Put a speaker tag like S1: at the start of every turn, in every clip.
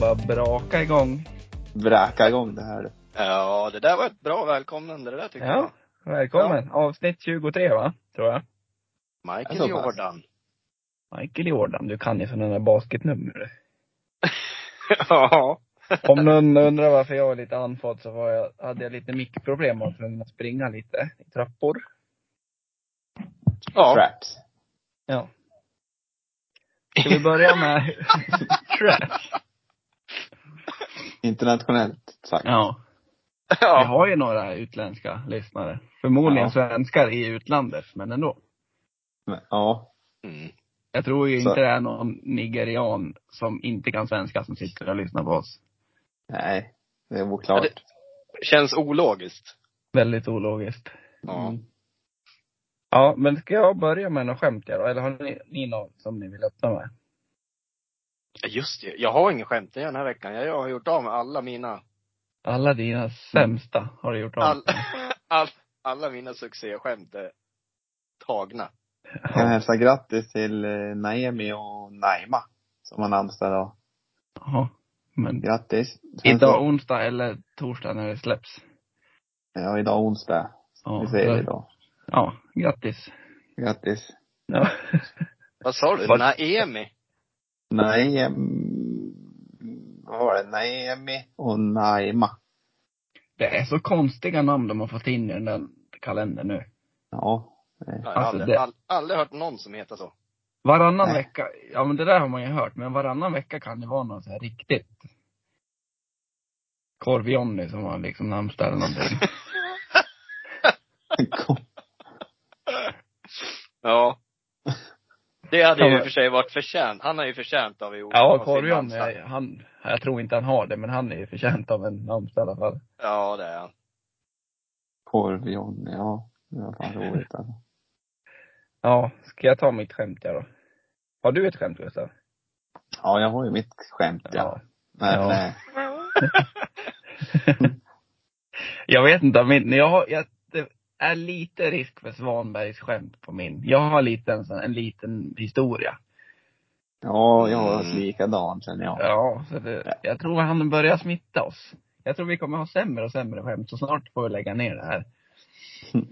S1: bara braka igång.
S2: Vräka igång det här.
S3: Ja, det där var ett bra välkomnande det där tycker
S1: Ja, välkommen. Avsnitt 23 va, tror jag.
S3: jag.
S2: Ja,
S3: Michael
S2: så pass.
S3: Jordan.
S1: Michael Jordan, du kan ju sådana där basketnummer.
S3: ja.
S1: Om någon undrar varför jag är lite andfådd så var jag, hade jag lite mickproblem och var tvungen att springa lite i trappor.
S3: ja.
S2: Traps.
S1: Ja. Ska vi börja med trash?
S2: Internationellt sagt.
S1: Ja. Vi
S3: ja.
S1: har ju några utländska lyssnare. Förmodligen
S2: Ja.
S1: svenskar i utlandet, men ändå.
S2: Men, ja.
S3: Mm.
S1: Jag tror ju
S2: Så-
S1: inte det är någon nigerian som inte kan svenska som sitter och lyssnar på oss.
S2: Nej. Det är oklart.
S3: Ja, Känns ologiskt.
S1: Väldigt ologiskt.
S3: Ja.
S2: Mm.
S1: Ja, men ska jag börja med något skämt jag då? Eller har ni, ni något som ni vill öppna med?
S3: Just det. Jag har ingen skämt den här veckan. Jag har gjort av med alla mina,
S1: Alla dina sämsta har du gjort av.
S3: all, all, alla mina succéskämt är tagna.
S2: Kan hälsa grattis till eh, Naemi och Naima. Som har namnsdag idag.
S1: Ja. Men
S2: Grattis. Sen
S1: idag
S2: så-
S1: onsdag eller torsdag när det släpps.
S2: Ja, idag onsdag.
S1: Ja,
S2: Vi säger det
S1: då.
S2: idag.
S1: Ja, grattis.
S2: Grattis.
S1: Ja.
S3: Vad sa du?
S1: Vad-
S3: Naemi?
S2: Naemi. Vad var det? Naemi och Naima.
S1: Det är så konstiga namn de har fått in i den där kalendern nu.
S2: Ja.
S3: Jag har
S1: Alltså,
S3: aldrig,
S1: det-
S3: all, aldrig hört någon som heter så.
S1: Varannan
S2: Nej.
S1: vecka, ja men det där har man ju hört, men varannan vecka kan det vara någon så här riktigt korv som har liksom namnsdag eller någonting.
S3: Ja. Det hade
S1: Ja,
S3: ju i
S1: men-
S3: och för sig varit förtjänt. Han har ju förtjänt av i år. av
S1: Ja,
S3: sin
S1: korv
S3: namnsdag.
S1: han, jag tror inte han har det, men han är ju förtjänt av en namnsdag i alla fall.
S3: Ja, det är han.
S2: Korv-Johnny. Ja. Det var fan roligt alltså.
S1: Ja, ska jag ta mitt skämt jag då? Har du ett skämt Gustav?
S2: Ja, jag har ju mitt skämt ja. eh, Nej,
S1: Ja.
S2: nej.
S1: Jag vet inte, om min, jag har, jag, det är lite risk för Svanbergs skämt på min. Jag har lite en, sån- en liten historia.
S2: Ja, jag har
S3: Mm.
S2: likadant känner jag.
S1: Ja, så det, jag tror han börjar smitta oss. Jag tror vi kommer ha sämre och sämre skämt, så snart får vi lägga ner det här. Mm.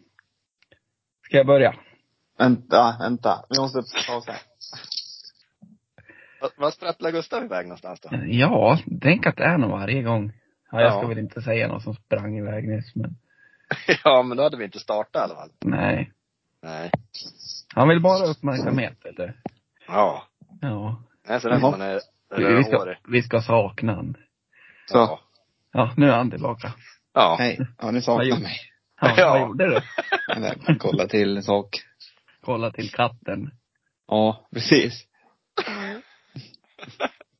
S1: Ska jag börja?
S2: Vänta, vänta. Vi måste ta oss här.
S3: Vad- Vad sprattlar Gustav iväg någonstans då?
S1: Ja, tänk att det är någon varje gång. Ja, jag ska
S3: Ja.
S1: väl inte säga någon som sprang iväg nyss, men
S3: Ja, men då hade vi inte startat i alla fall.
S1: nej.
S3: Nej.
S1: Han vill bara ha uppmärksamhet, vet du.
S3: Ja.
S1: Ja.
S3: Nej, så den
S2: Jaha.
S3: man är
S1: Vi ska,
S3: rödhårig.
S1: vi ska sakna han.
S2: Så.
S3: Ja.
S1: Ja, nu är han tillbaka.
S3: Ja.
S2: Hej. Ja, ni
S1: Vad
S2: saknar
S1: gjorde-
S2: mig.
S1: Ja,
S3: Ja.
S1: Vad gjorde du?
S2: Vänta, Kolla till en sak.
S1: Kolla till katten.
S2: Ja, precis.
S3: Mm.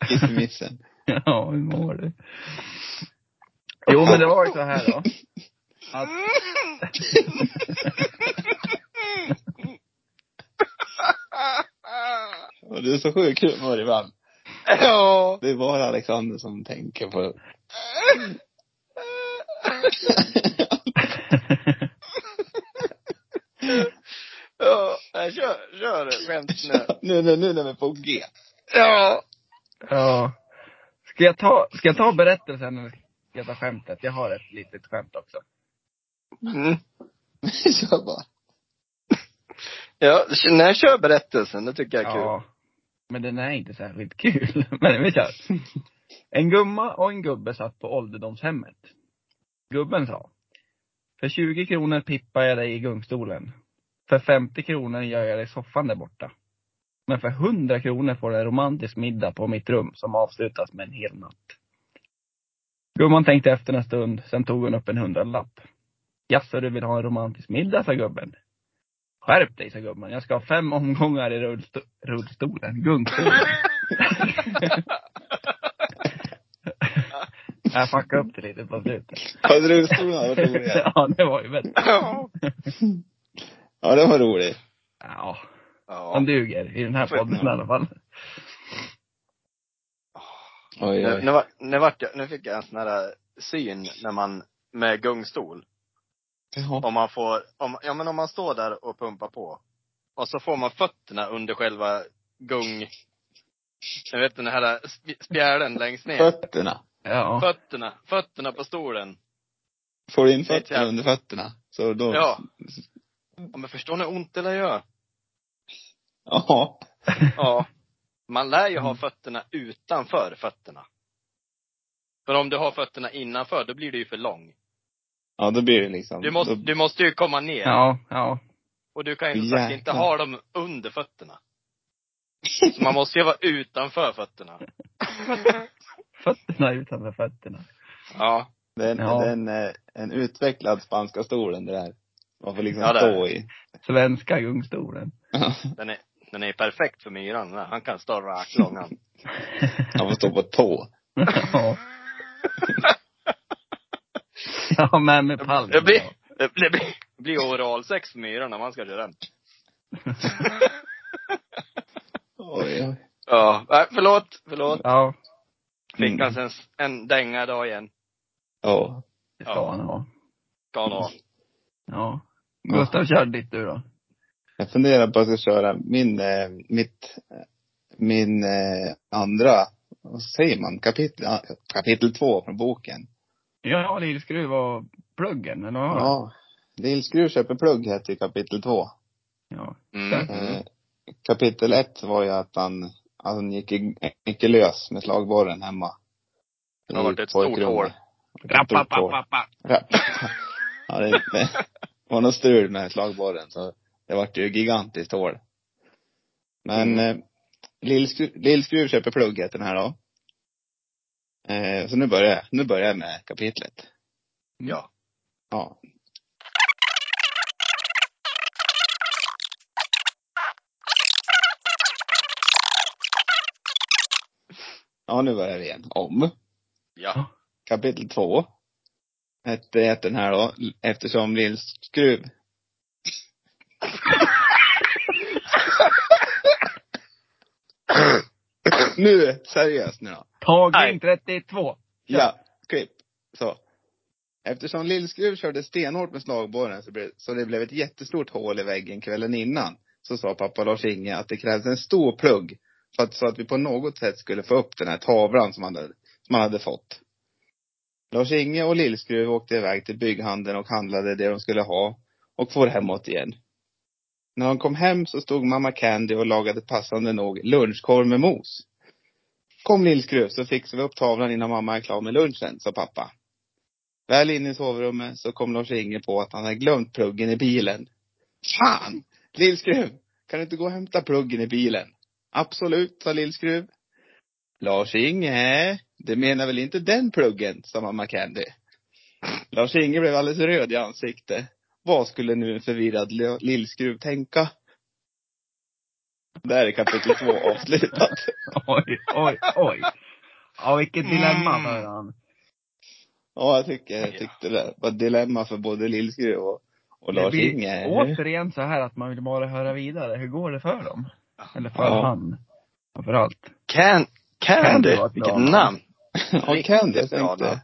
S2: Kissemissen.
S1: Ja, hur mår du? Jo, men det var ju så här då. Att
S2: Och du är så sjuk humor ibland.
S3: Ja.
S2: Det är bara Alexander som tänker på det.
S3: Ja, nej, kör, kör skämt nu.
S2: Nu, nu, nu när vi är på G.
S3: Ja.
S1: Ja. Ska jag ta, ska jag ta berättelsen eller ska jag ta skämtet? Jag har ett litet skämt också.
S3: Mm.
S2: Kör bara.
S3: Ja, k- nej, kör berättelsen. Det tycker jag är kul.
S1: Ja. Men den är inte särskilt kul. Men vi kör. En gumma och en gubbe satt på ålderdomshemmet. Gubben sa. För 20 kronor pippar jag dig i gungstolen. För 50 kronor gör jag dig i soffan där borta. Men för 100 kronor får du en romantisk middag på mitt rum som avslutas med en hel natt. Gumman tänkte efter en stund, sen tog hon upp en hundralapp. Jaså, du vill ha en romantisk middag, sa gubben. Skärp dig, sa gumman. Jag ska ha fem omgångar i rullsto- rullstolen. Gungstolen. jag fuckade upp det lite på slutet.
S2: Hade du stolarna varit roliga?
S1: ja, det var ju väldigt...
S3: Ja.
S2: Ja, det var roligt.
S1: Ja,
S3: Ja.
S1: han duger i den här podden i alla fall.
S2: Oj,
S3: Nu,
S2: oj.
S3: nu, var, nu, vart jag, nu fick jag en sån här syn när man, med gungstol.
S2: Ja.
S3: Om man får, om, ja men om man står där och pumpar på. Och så får man fötterna under själva gung, Jag vet den här sp- spjälen längst ner.
S2: Fötterna.
S1: Ja.
S3: Fötterna. Fötterna på stolen.
S2: Får in
S3: Vet
S2: fötterna
S3: jag.
S2: under fötterna. Så då...
S3: Ja. ja men förstår ni hur ont det lär gör?
S2: Ja.
S3: Ja. Man lär ju ha
S2: Mm.
S3: fötterna utanför fötterna. För om du har fötterna innanför, då blir du ju för lång.
S2: Ja, då blir det liksom...
S3: Du måste,
S2: då,
S3: du måste ju komma ner.
S1: Ja, ja.
S3: Och du kan ju som sagt inte
S2: Jäklar.
S3: ha dem under fötterna. Så man måste ju vara utanför fötterna.
S1: Fötterna utanför fötterna.
S3: Ja.
S2: det är en,
S1: Ja.
S2: det är en, eh, en utvecklad spanska stolen det där. Man får liksom
S3: Ja, det är
S2: stå
S3: det.
S2: i.
S1: Svenska gungstolen.
S3: Den är, den är perfekt för myran. den här. Han kan stå rakt lång han.
S2: Man får stå på tå.
S1: Ja. Jag har med mig palmen.
S3: Det blir, det blir, det blir oralsex för myran när man ska köra den.
S2: Oj, oj.
S3: Ja. Nej, förlåt, förlåt.
S1: Ja,
S3: Fick han sen s- en dänga idag igen.
S2: Ja.
S1: det ska
S3: Ja.
S1: han ha.
S3: Ska han ha.
S1: Ja.
S2: Ja.
S1: Gustav, kör ditt du då.
S2: Jag funderar på att jag ska köra min, eh, mitt, eh, min eh, andra, vad säger man, kapitel, ah, kapitel två från boken.
S1: Ja, lillskruv och pluggen, eller vad har du?
S2: Ja. Lillskruv köper plugg heter ju kapitel två.
S1: Ja.
S3: Mm.
S2: Eh, kapitel ett var ju att han, han gick i- enkelös med slagborren hemma.
S3: Det har varit ett
S2: I pojkrummet.
S3: stort hål.
S2: Ett stort hål.
S1: Rappapapapapa.
S2: Rapp. Ja, det, det var något strul med slagborren så det vart ju gigantiskt hål. Men eh, Lillskru- Lillskruv köper plugg heter den här då. Eh, så nu börjar jag, nu börjar jag med kapitlet.
S3: Ja.
S2: Ja. Ja, nu börjar vi igen. Om.
S3: Ja.
S2: Kapitel två. Hette hette den här då, eftersom Lillskruv Nu, seriöst nu då.
S1: Tagning
S3: Nej.
S1: 32.
S2: Ja, klipp. Så. Eftersom Lillskruv körde stenhårt med slagborren så, blev- så det blev ett jättestort hål i väggen kvällen innan. Så sa pappa Lars-Inge att det krävs en stor plugg. För att, så att vi på något sätt skulle få upp den här tavlan som han hade, som han hade fått. Lars-Inge och Lillskruv åkte iväg till bygghandeln och handlade det de skulle ha. Och for hemåt igen. När de kom hem så stod mamma Candy och lagade passande nog lunchkorv med mos. Kom Lillskruv så fixar vi upp tavlan innan mamma är klar med lunchen, sa pappa. Väl inne i sovrummet så kom Lars-Inge på att han hade glömt pluggen i bilen. Fan! Lillskruv, kan du inte gå och hämta pluggen i bilen? Absolut, sa Lillskruv. Lars-Inge, du menar väl inte den pluggen, sa mamma Candy. Lars-Inge blev alldeles röd i ansiktet. Vad skulle nu en förvirrad Lö- Lillskruv tänka? Där är kapitel två avslutat.
S1: Oj, oj, oj. Ja, vilket dilemma
S3: Mm.
S1: för han.
S2: Ja, jag, tycker, jag tyckte det var ett dilemma för både Lillskruv och, och
S1: Det blir
S2: Lars-Inge.
S1: återigen så här att man vill bara höra vidare. Hur går det för dem? Eller för
S2: Ja.
S1: han? Framförallt.
S3: Can,
S1: Candy
S3: candy.
S1: var ett bra
S3: Vilket
S1: namn.
S3: namn.
S2: Ja, Candy, jag
S3: Riktigt bra
S2: tänkte.
S3: namn.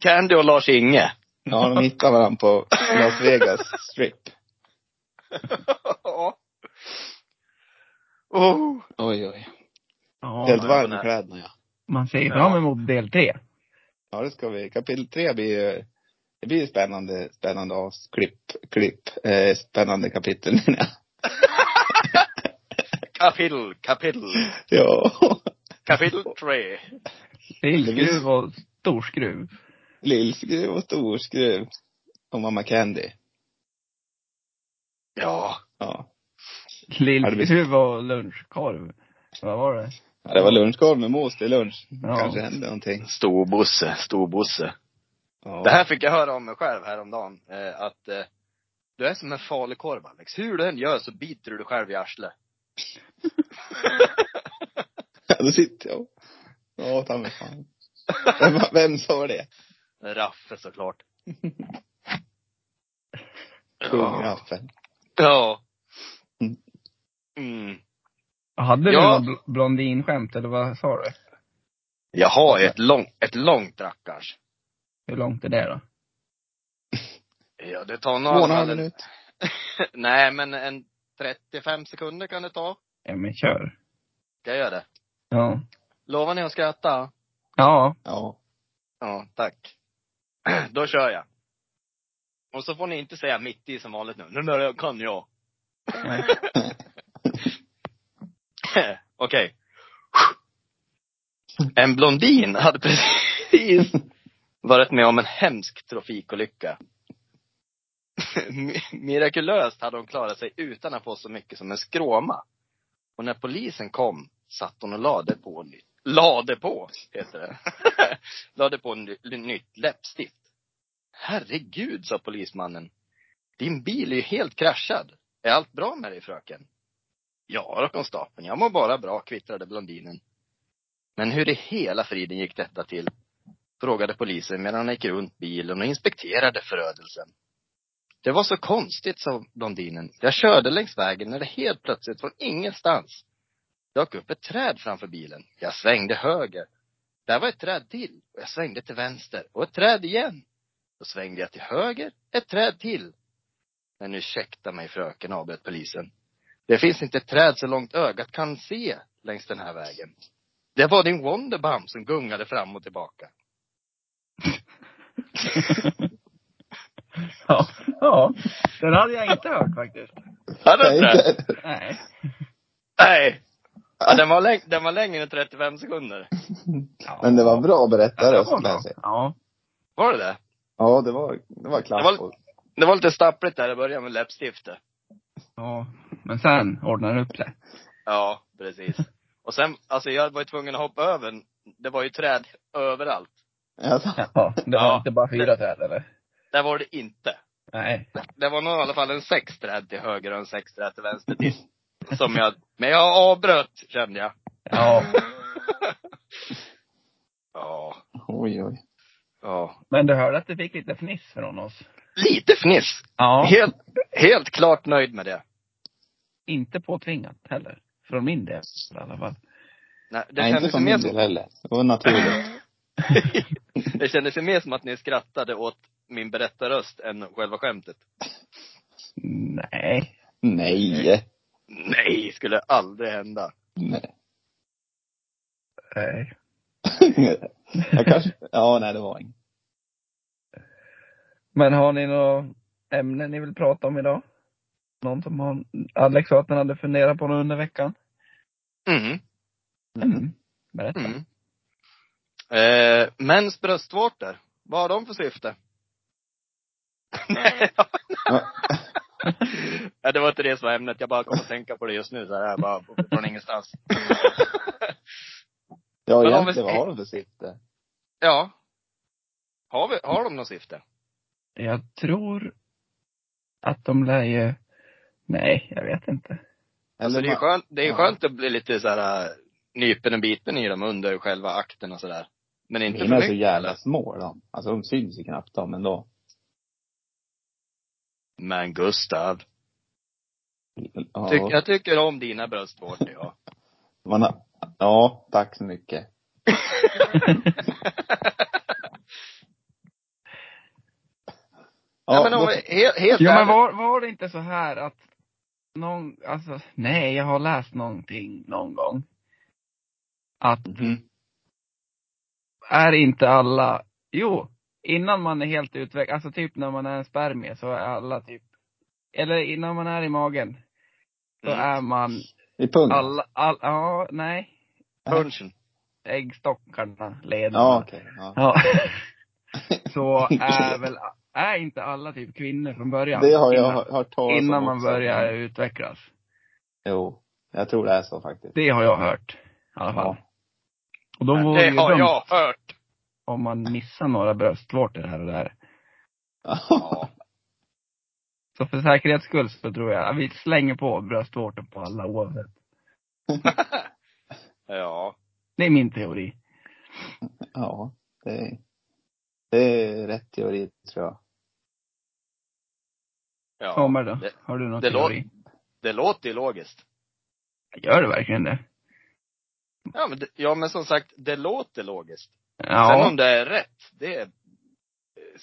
S3: Candy och Lars-Inge.
S2: Ja, de hittade varandra på Las Vegas strip.
S3: oh.
S2: Oj, oj. Helt
S1: Ja,
S3: var-
S2: varm i kläderna, ja.
S1: man ser ju
S3: Ja.
S1: fram emot del tre.
S2: Ja, det ska vi. Kapitel tre blir ju, det blir ju spännande, spännande avklipp, klipp, eh, spännande kapitel menar jag.
S3: Kapitel, kapitel.
S2: Ja.
S3: Kapitel tre.
S1: Lillskruv och storskruv.
S2: Lillskruv och Storskruv. Och mamma Candy.
S3: Ja.
S2: Ja.
S1: Lillskruv och lunchkorv. Vad var det?
S2: ja det var lunchkorv med mos till lunch.
S1: Ja.
S2: Kanske hände någonting.
S3: Storbosse, storbosse.
S2: Ja.
S3: Det här fick jag höra om mig själv häromdagen. Eh, att eh, du är som en falukorv Alex. Hur du än gör så biter du dig själv i arslet.
S2: Ja, då sitter jag och- Ja, ta mig fan. Vem, vem sa det?
S3: Raffe såklart.
S2: Kung
S3: ja.
S2: Raffel.
S3: ja.
S2: Mm.
S3: Mm.
S1: Hade
S3: Ja.
S1: du något bl- blondinskämt eller vad sa du?
S3: Jag har ju ett långt, ett långt rackars.
S1: Hur långt är det då?
S3: Ja, det tar nog i
S2: Två
S3: alla
S2: och en
S3: fall
S2: halv
S3: en-
S2: minut.
S3: Nej, men en 35 sekunder kan det ta.
S1: Ja men kör.
S3: Ska jag göra det?
S1: Ja.
S3: Lovar ni att skratta?
S1: Ja.
S2: Ja.
S3: Ja, tack. Då kör jag. Och så får ni inte säga mitt i som vanligt nu. Nu där kan jag.
S1: Nej.
S3: Okej. En blondin hade precis varit med om en hemsk trafikolycka. Mi- Mirakulöst hade hon klarat sig utan att få så mycket som en skråma. Och när polisen kom satt hon och lade på nytt. Lade på, heter det. lade på ny, nytt läppstift. Herregud, sa polismannen. Din bil är ju helt kraschad. Är allt bra med dig, fröken? Ja då, konstapeln, jag mår bara bra, kvittrade blondinen. Men hur i hela friden gick detta till? Frågade polisen medan han gick runt bilen och inspekterade förödelsen. Det var så konstigt, sa blondinen. Jag körde längs vägen när det helt plötsligt från ingenstans dök upp ett träd framför bilen. Jag svängde höger. Där var ett träd till. Och jag svängde till vänster. Och ett träd igen. Då svängde jag till höger. Ett träd till. Men ursäkta mig fröken, avbröt polisen. Det finns inte ett träd så långt ögat kan se längs den här vägen. Det var din Wonderbomb som gungade fram och tillbaka.
S1: ja. Ja. Den hade jag inte hört faktiskt.
S3: Ja, det
S2: Nej,
S3: är träd.
S2: inte.
S1: Nej.
S3: Nej! Ja, den, var läng- den var längre än 35 sekunder.
S1: Ja.
S2: Men det var bra berättare.
S1: Ja,
S2: Ja, det var,
S1: Ja.
S3: Var det det?
S2: ja, det var, det var klapp.
S3: Det var- Det var lite stappligt där i början med läppstiftet.
S1: Ja. Men sen ordnar det upp sig.
S3: Ja, precis. Och sen, alltså jag var ju tvungen att hoppa över. Det var ju träd överallt.
S2: Alltså,
S1: Ja. Det var
S3: Ja.
S1: inte bara fyra träd eller?
S3: Där var det inte.
S1: Nej.
S3: Det var nog i alla fall en sex träd till höger och en sex träd till vänster till. Som jag, men jag avbröt kände jag.
S1: Ja.
S3: ja.
S2: oj, oj.
S3: Ja.
S1: Men du hörde att du fick lite fniss från oss?
S3: Lite fniss.
S1: Ja.
S3: Helt, helt klart nöjd med det.
S1: Inte påtvingat heller. Från min del i alla fall.
S3: Nej, det,
S2: Nej, inte
S3: kändes ju
S2: från
S3: mer
S2: min
S3: som,
S2: del heller. Det var naturligt.
S3: det kändes ju mer som att ni skrattade åt min berättarröst än själva skämtet.
S1: Nej.
S2: Nej.
S3: Nej, skulle aldrig hända.
S2: Nej.
S1: Nej.
S2: Jag kanske, ja, nej det var inget.
S1: Men har ni några ämnen ni vill prata om idag? Någon som har, Alex sa att han hade funderat på något under veckan.
S3: Mm,
S1: Mm. Berätta.
S3: mm. Eh, mäns bröstvårtor, vad har de för syfte? Nej,
S2: Ja.
S3: Ja, det var inte det som var ämnet. Jag bara kom att tänka på det just nu så här, bara från ingenstans.
S2: Ja,
S3: Men om
S2: egentligen,
S3: vi-
S2: vad har de för syfte?
S3: Ja. Har, vi, har de något syfte?
S1: Jag tror att de lär ju, nej, jag vet inte.
S3: Alltså det är ju
S2: man-
S3: skönt, det är ju
S2: ja.
S3: skönt att bli lite så här äh, nypen och biten i dem under själva akten och sådär. Men inte
S2: Mina
S3: för
S2: är så
S3: mycket.
S2: jävla små de. Alltså de syns ju knappt de ändå.
S3: Men Gustav,
S2: Ja,
S3: tyck, jag tycker om dina bröstvårtor ja.
S2: man har, ja, tack så mycket.
S3: ja, men om,
S2: då-
S3: vi- helt, helt
S1: Jo men
S3: ärligt.
S1: var, var det inte så här att någon, alltså, nej, jag har läst någonting någon gång. Att
S2: Mhm.
S1: är inte alla, jo, innan man är helt utvecklad, alltså typ när man är en spermie så är alla typ, eller innan man är i magen, så
S3: Mm.
S1: är man
S2: I pung?
S1: alla, all, ja, nej,
S3: Punchen.
S1: äggstockarna, lederna.
S2: Ja, okej. Ja.
S1: Ja. så är väl, är inte alla typ kvinnor från början?
S2: Det har jag
S1: innan,
S2: hört talas om
S1: innan man
S2: också.
S1: börjar utvecklas.
S2: Jo, jag tror det är så faktiskt.
S1: Det har jag hört. I alla fall.
S2: Ja.
S1: Och då vore det
S3: Det
S1: ju
S3: har
S1: dumt
S3: jag hört.
S1: om man missar några bröstvårtor här och där.
S3: Ja.
S1: Så för säkerhets skull så tror jag, vi slänger på bröstvårtor på alla oavsett.
S3: ja.
S1: Det är min teori.
S2: ja, det är, det är rätt teori tror jag.
S3: ja.
S1: Kommer då?
S3: det-
S1: har du någon
S3: det
S1: teori?
S3: Det låter ju logiskt.
S1: Gör det verkligen det?
S3: Ja men, det, ja men som sagt, det låter logiskt. Sen
S1: Ja.
S3: om det är rätt, det eh,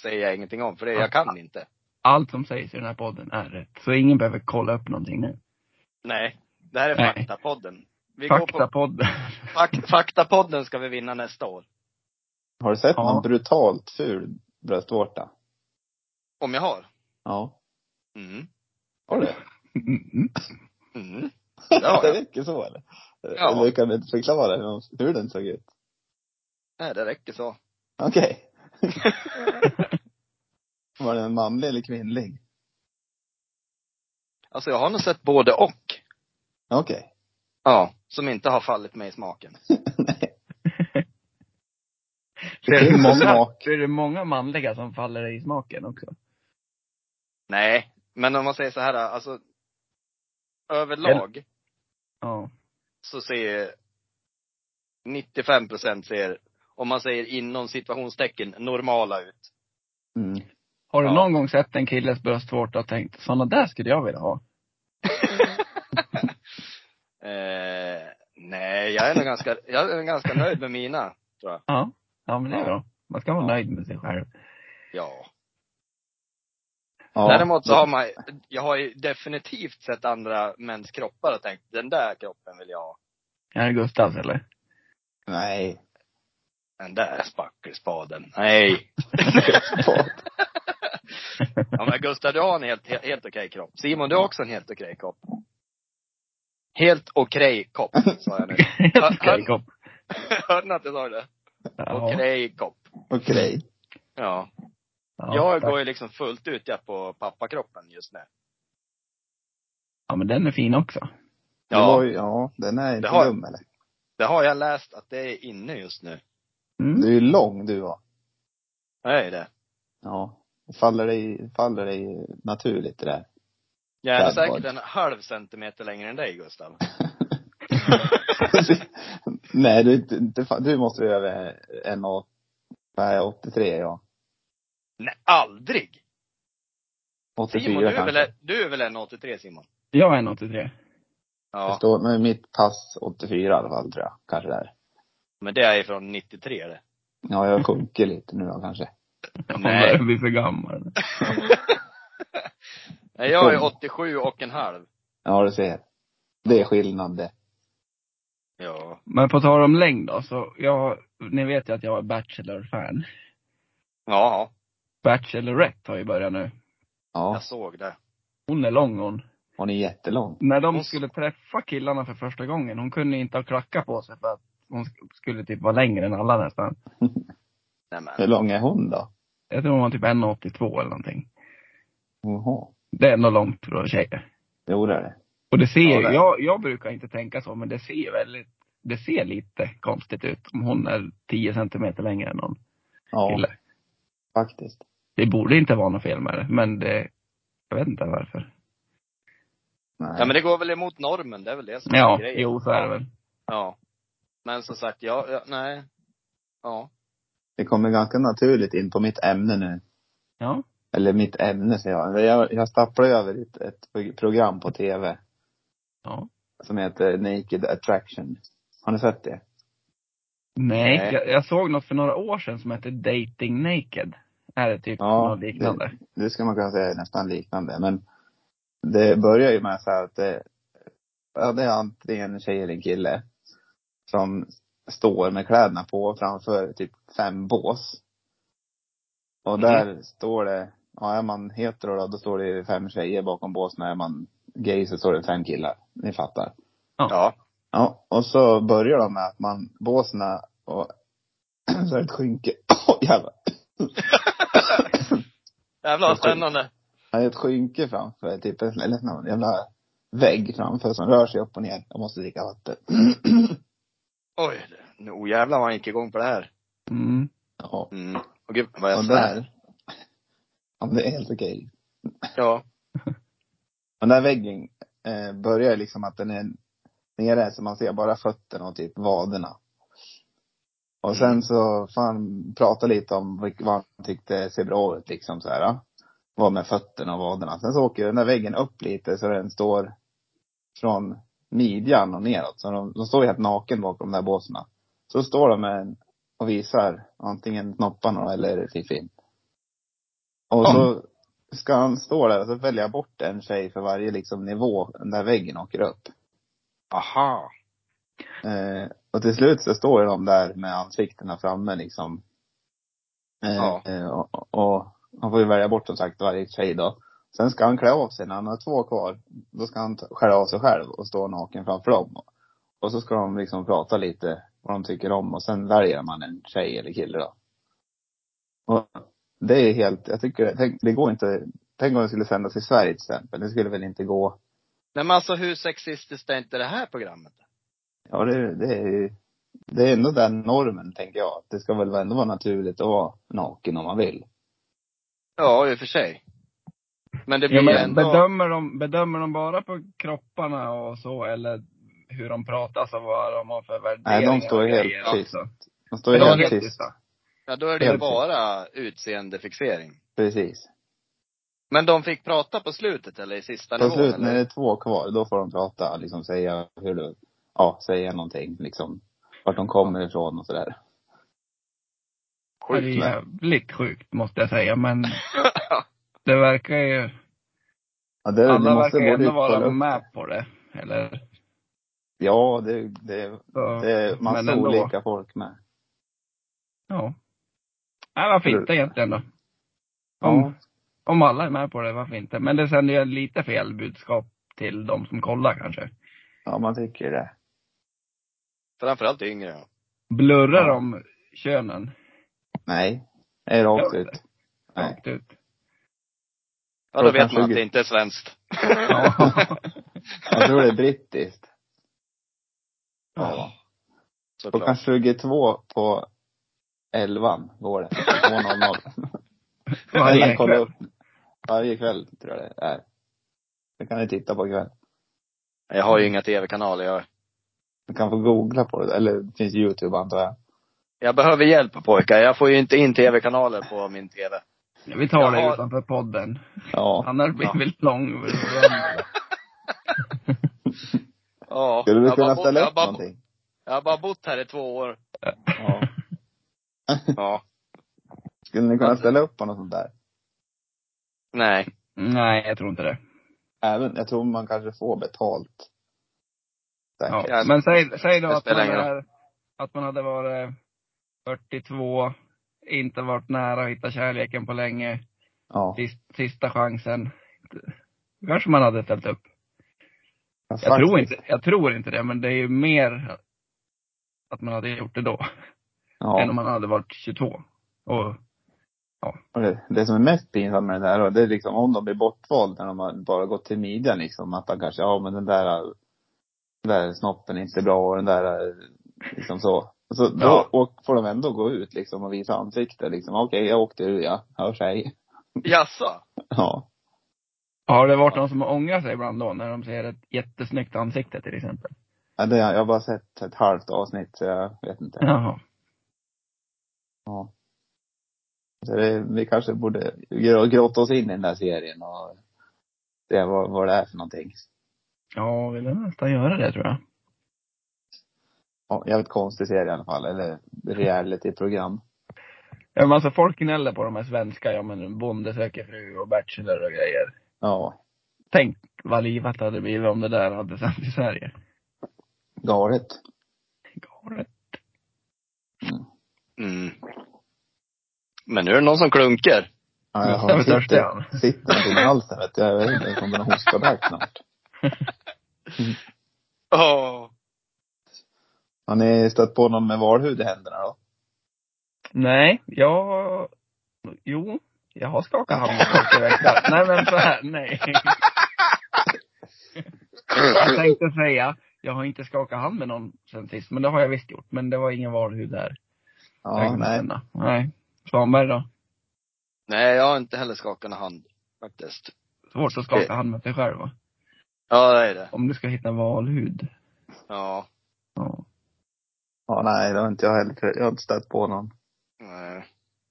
S3: säger jag ingenting om, för det, jag kan inte.
S1: Allt som sägs i den här podden är rätt. Så ingen behöver kolla upp någonting nu.
S3: Nej. Det här är
S1: Nej.
S3: faktapodden. Vi går på
S1: Faktapodden.
S3: fak, Faktapodden ska vi vinna nästa år.
S2: Har du sett
S1: Ja.
S2: någon brutalt ful bröstvårta?
S3: Om jag har.
S2: Ja.
S3: Mm.
S2: Har du?
S1: Mm.
S3: Mm. Det har
S2: det
S3: jag.
S2: räcker så eller?
S3: Ja.
S2: Eller kan du inte förklara hur, de- hur den såg ut?
S3: Nej, det räcker så.
S2: Okej. Var den manlig eller kvinnlig?
S3: Alltså jag har nog sett både och.
S2: Okej.
S3: Ja. Som inte har fallit mig i smaken.
S2: Nej.
S1: Ser du
S2: finns en
S1: många,
S2: smak.
S1: ser du många manliga som faller dig i smaken också?
S3: Nej. Men om man säger så här, alltså. Överlag
S1: Ja.
S3: så ser 95 procent ser, om man säger inom situationstecken, normala ut.
S2: Mm.
S1: Har du
S3: Ja.
S1: någon gång sett en killes bröstvårta och tänkt, såna där skulle jag vilja ha?
S3: Eh, nej, jag är nog ganska, jag är nog ganska nöjd med mina.
S1: Ja. Ja men det är
S3: Ja.
S1: bra. Man ska vara
S3: Ja.
S1: nöjd med sig själv.
S3: Ja.
S2: Ja.
S3: Däremot så har man, jag har ju definitivt sett andra mäns kroppar och tänkt, den där kroppen vill jag ha.
S1: Är det Gustavs eller?
S2: Nej.
S3: Den där spackelspaden. Nej. Ja men Gustav, du har en helt, helt okej kropp. Simon, du har också en helt okej kropp. Helt okej kropp, sa jag nu. Ja,
S1: Okej, kom.
S3: Hörde ni att jag sa det?
S1: Ja.
S3: Okej kropp.
S2: Okej.
S3: Ja.
S1: Ja,
S3: jag
S1: tack.
S3: går ju liksom fullt ut jag på pappakroppen just nu.
S1: Ja men den är fin också.
S2: Det var
S3: Ja.
S2: ju- Ja, den är inte
S3: har-
S2: dum eller?
S3: Det har jag läst att det är inne just nu.
S1: Mm.
S2: Du är ju lång du va?
S3: Det är det.
S2: Ja. Faller dig, faller dig naturligt det där.
S3: Jag är
S2: Bad
S3: säkert
S2: boy.
S3: en halv centimeter längre än dig, Gustav.
S2: Nej, du, är inte- inte fan- du måste ju över 1,83 ja.
S3: Nej, aldrig!
S2: 84
S3: Simon, du är,
S2: kanske.
S3: väl, du är väl en 83 Simon?
S1: Jag är en 83.
S2: Det
S3: Ja.
S2: står, men mitt pass 84 i alla fall tror jag. Kanske där.
S3: Men det är från 93 det.
S2: Ja, jag sjunker lite nu då kanske.
S1: Jag
S3: Nej.
S1: börjar bli för gammal.
S3: Nej, jag är 87 och en halv.
S2: Ja, du ser. Det är skillnad det.
S3: Ja.
S1: Men på tal om längd då, så jag, ni vet ju att jag är Bachelor-fan.
S3: Ja,
S1: Bachelorette har ju börjat nu.
S2: Ja.
S3: jag såg det.
S1: Hon är lång hon.
S2: Hon är jättelång.
S1: När de
S3: Hon s-
S1: skulle träffa killarna för första gången, hon kunde inte ha klackar på sig för att hon sk- skulle typ vara längre än alla nästan.
S3: Nej,
S2: Hur
S3: men.
S2: lång är hon då?
S1: Jag tror hon var typ 1,82 eller någonting.
S2: Jaha.
S1: Det är ändå långt för tjejer.
S2: Jo, det är det.
S1: Och det ser
S3: Ja, det är.
S1: jag, jag brukar inte tänka så, men det ser väldigt, det ser lite konstigt ut om hon är 10 centimeter längre än någon
S2: Ja,
S1: kille.
S2: faktiskt.
S1: Det borde inte vara något fel med det, men det, jag vet inte varför.
S2: Nej.
S3: Ja, men det går väl emot normen, det är väl det som är
S1: Ja,
S3: grejen.
S1: jo så är det väl.
S3: Ja. Men som sagt, ja, ja nej. Ja.
S2: det kommer ganska naturligt in på mitt ämne nu.
S1: Ja.
S2: Eller mitt ämne säger jag. Jag, jag stapplade över ett, ett program på tv
S1: ja.
S2: som heter Naked Attraction. Har ni sett det?
S1: Nej,
S3: Nej.
S1: Jag, jag såg något för några år sedan som hette Dating Naked. Är det typ
S2: Ja,
S1: något liknande?
S2: det ska man kunna säga är nästan liknande. Men det börjar ju med så här att det, ja, det är antingen en tjej eller en kille som står med kläderna på framför typ fem bås. Och där står det, ja är man hetero då, då står det fem tjejer bakom båsen. Är man gay så står det fem killar. Ni fattar.
S3: Ja.
S2: Ja, och så börjar de med att man, båsen är- och så är det ett skynke. Oj jävlar.
S3: Jävlar vad spännande.
S2: Ja, det är ett skynke framför, typ en, eller någon jävla vägg framför som rör sig upp och ner. Jag måste dricka vatten.
S3: Oj, nu oh, jävlar vad han gick igång på det här.
S1: Mm.
S2: ja.
S3: Mm. Och gud, vad jag
S2: Och
S3: svär.
S2: där. Ja, men det är helt okej.
S3: Ja.
S2: Den där väggen eh, börjar liksom att den är nere så man ser bara fötterna och typ vaderna. Och sen så får han prata lite om vilk- vad han tyckte ser bra ut liksom så här. ja. Vad med fötterna och vaderna. Sen så åker den där väggen upp lite så den står från midjan och neråt. Så de, de står ju helt naken bakom de där båsarna. Så står de med en och visar antingen knopparna då eller fiffin. Och så ska han stå där och så välja bort en tjej för varje liksom nivå den där väggen åker upp.
S3: Aha.
S2: Eh, och till slut så står ju de där med ansiktena framme liksom. Eh,
S3: Ja.
S2: eh, och, och- och han får ju välja bort som sagt varje tjej då. Sen ska han klä av sig, när han har två kvar, då ska han ta- skära av sig själv och stå naken framför dem. Och så ska de liksom prata lite vad de tycker om och sen väljer man en tjej eller kille då. Och det är helt, jag tycker, tänk, det går inte, tänk om det skulle sändas i Sverige till exempel. Det skulle väl inte gå
S3: Nej men alltså hur sexistiskt är inte det här programmet?
S2: Ja, det, det är ju, det är ändå den normen, tänker jag. Det ska väl ändå vara naturligt att vara naken om man vill.
S3: Ja, i och för sig. Men det blir
S1: Ja,
S3: ju
S1: men
S3: ändå...
S1: bedömer, de, bedömer de bara på kropparna och så eller hur de pratar, så vad de har för värderingar?
S2: står ju
S1: och
S2: helt
S1: grejer
S2: tyst.
S1: också.
S2: Man står
S1: De
S2: ju
S1: är
S2: helt
S1: helt
S2: tyst.
S1: tysta.
S3: Ja, då är det ju
S2: Helt
S3: bara utseendefixering.
S2: Precis.
S3: Men de fick prata på slutet eller i sista
S2: På
S3: nivån?
S2: slut, när
S3: eller?
S2: det är två kvar, då får de prata, liksom säga hur du, ja, säga någonting, liksom. Vart de kommer ifrån och sådär.
S1: Det är
S3: Sjukt.
S1: jävligt sjukt måste jag säga, men det verkar ju,
S2: Ja, det,
S1: alla
S2: det måste
S1: verkar ju
S2: både
S1: ändå
S2: kolla
S1: vara
S2: upp.
S1: med på det. Eller,
S2: Ja, det, det,
S1: så,
S2: det är massa
S1: men ändå.
S2: olika folk med.
S1: Ja. Nej, varför inte egentligen då? Om,
S2: Ja.
S1: om alla är med på det, varför inte? Men det sänder ju lite fel budskap till de som kollar kanske.
S2: Ja, man tycker det.
S3: Framförallt yngre. ja.
S1: Blurrar
S2: Ja.
S1: de könen
S2: Nej. Det är rakt
S1: Ja.
S2: ut. Nej.
S1: rakt ut?
S3: Ja, då vet
S2: Klockan
S3: man att
S2: 20.
S3: det inte är svenskt.
S1: Ja.
S2: Jag tror det är brittiskt.
S1: ja.
S2: Klockan
S3: Såklart.
S2: 22 på 11 går det. 22.00. Eller
S1: Varje
S2: kolla
S1: kväll.
S2: upp. Varje kväll tror jag det är. Det kan ni titta på ikväll.
S3: Jag har ju inga tv-kanaler. Jag,
S2: Du kan få googla på det. Eller det finns youtube antar jag.
S3: jag behöver hjälp pojkar. Jag får ju inte in tv-kanaler på min tv.
S1: Vi tar det
S3: Jaha.
S1: utanför podden.
S2: Ja.
S1: Annars blir det väldigt lång.
S3: Ja.
S2: Skulle
S3: jag
S2: du
S3: har
S2: kunna
S3: bara bott-
S2: ställa
S3: jag har
S2: upp
S3: bara-
S2: någonting?
S3: Jag har bara bott här i två år.
S2: Ja.
S3: Ja.
S2: Skulle ni kunna ställa upp på något sånt där?
S3: Nej.
S1: Nej, jag tror inte det.
S2: Även, jag tror man kanske får betalt. Säkert.
S1: Ja. Men säg, säg då
S3: Det
S1: att man,
S3: spelar ingen roll.
S1: är, att man hade varit 42, inte varit nära att hitta kärleken på länge.
S2: Ja.
S1: Sist, sista chansen. kanske man hade ställt upp.
S2: ja.
S1: Jag tror, inte, jag tror inte det, men det är ju mer att man hade gjort det då. Än om
S2: Ja.
S1: man hade varit 22. Och,
S2: Och det, det som är mest pinsamt med det där då, det är liksom om de blir bortvald när de har bara gått till midjan liksom. Att de kanske, ja men den där, eh, den där snoppen är inte bra och den där, eh, liksom så. Och så då
S1: Ja.
S2: och får de ändå gå ut liksom och visa ansikte liksom. Okej, jag åkte ur ja. Hörs hej.
S3: Jaså?
S2: Ja.
S1: har det varit någon som har ångrat sig ibland då, när de ser ett jättesnyggt ansikte till exempel?
S2: ja det, jag har bara sett ett halvt avsnitt så jag vet inte.
S1: Jaha.
S2: Ja. Så det, vi kanske borde gro- grotta oss in i den där serien och se vad, vad det är för någonting.
S1: Ja, vill jag nästan göra det tror jag.
S2: Ja, jävligt konstig serie i alla fall. Eller reality-program.
S1: Ja, men alltså folk gnäller på de här svenska, ja men Bonde söker fru och Bachelor och grejer.
S2: Ja.
S1: Tänk vad livat hade blivit om det där hade sänts i Sverige.
S2: Galet.
S1: Galet.
S3: Mm. Men nu är det någon som klunkar.
S2: Ja, jag
S1: Jag är törstig,
S2: sitter,
S1: han.
S2: sitter någonting i halsen vet du. Jag vet inte, jag kommer att hosta där snart.
S3: Åh.
S2: Har ni stött på någon med valhud i händerna då?
S1: Nej, jag, jo, jag har skakat hand med folk i veckan. Nej men så här, nej. Jag tänkte säga, jag har inte skakat hand med någon sen sist, men det har jag visst gjort. Men det var ingen valhud där. Jag
S2: Ja,
S1: kan
S2: nej.
S1: känna. Nej. Svanberg då?
S3: Nej, jag har inte heller skakat någon hand faktiskt.
S1: Svårt att skaka hand med sig själv va?
S3: Ja, det är det.
S1: Om du ska hitta valhud.
S3: Ja.
S1: Ja.
S2: Ja, nej, det har inte jag heller. Jag har inte stött på någon.
S3: Nej.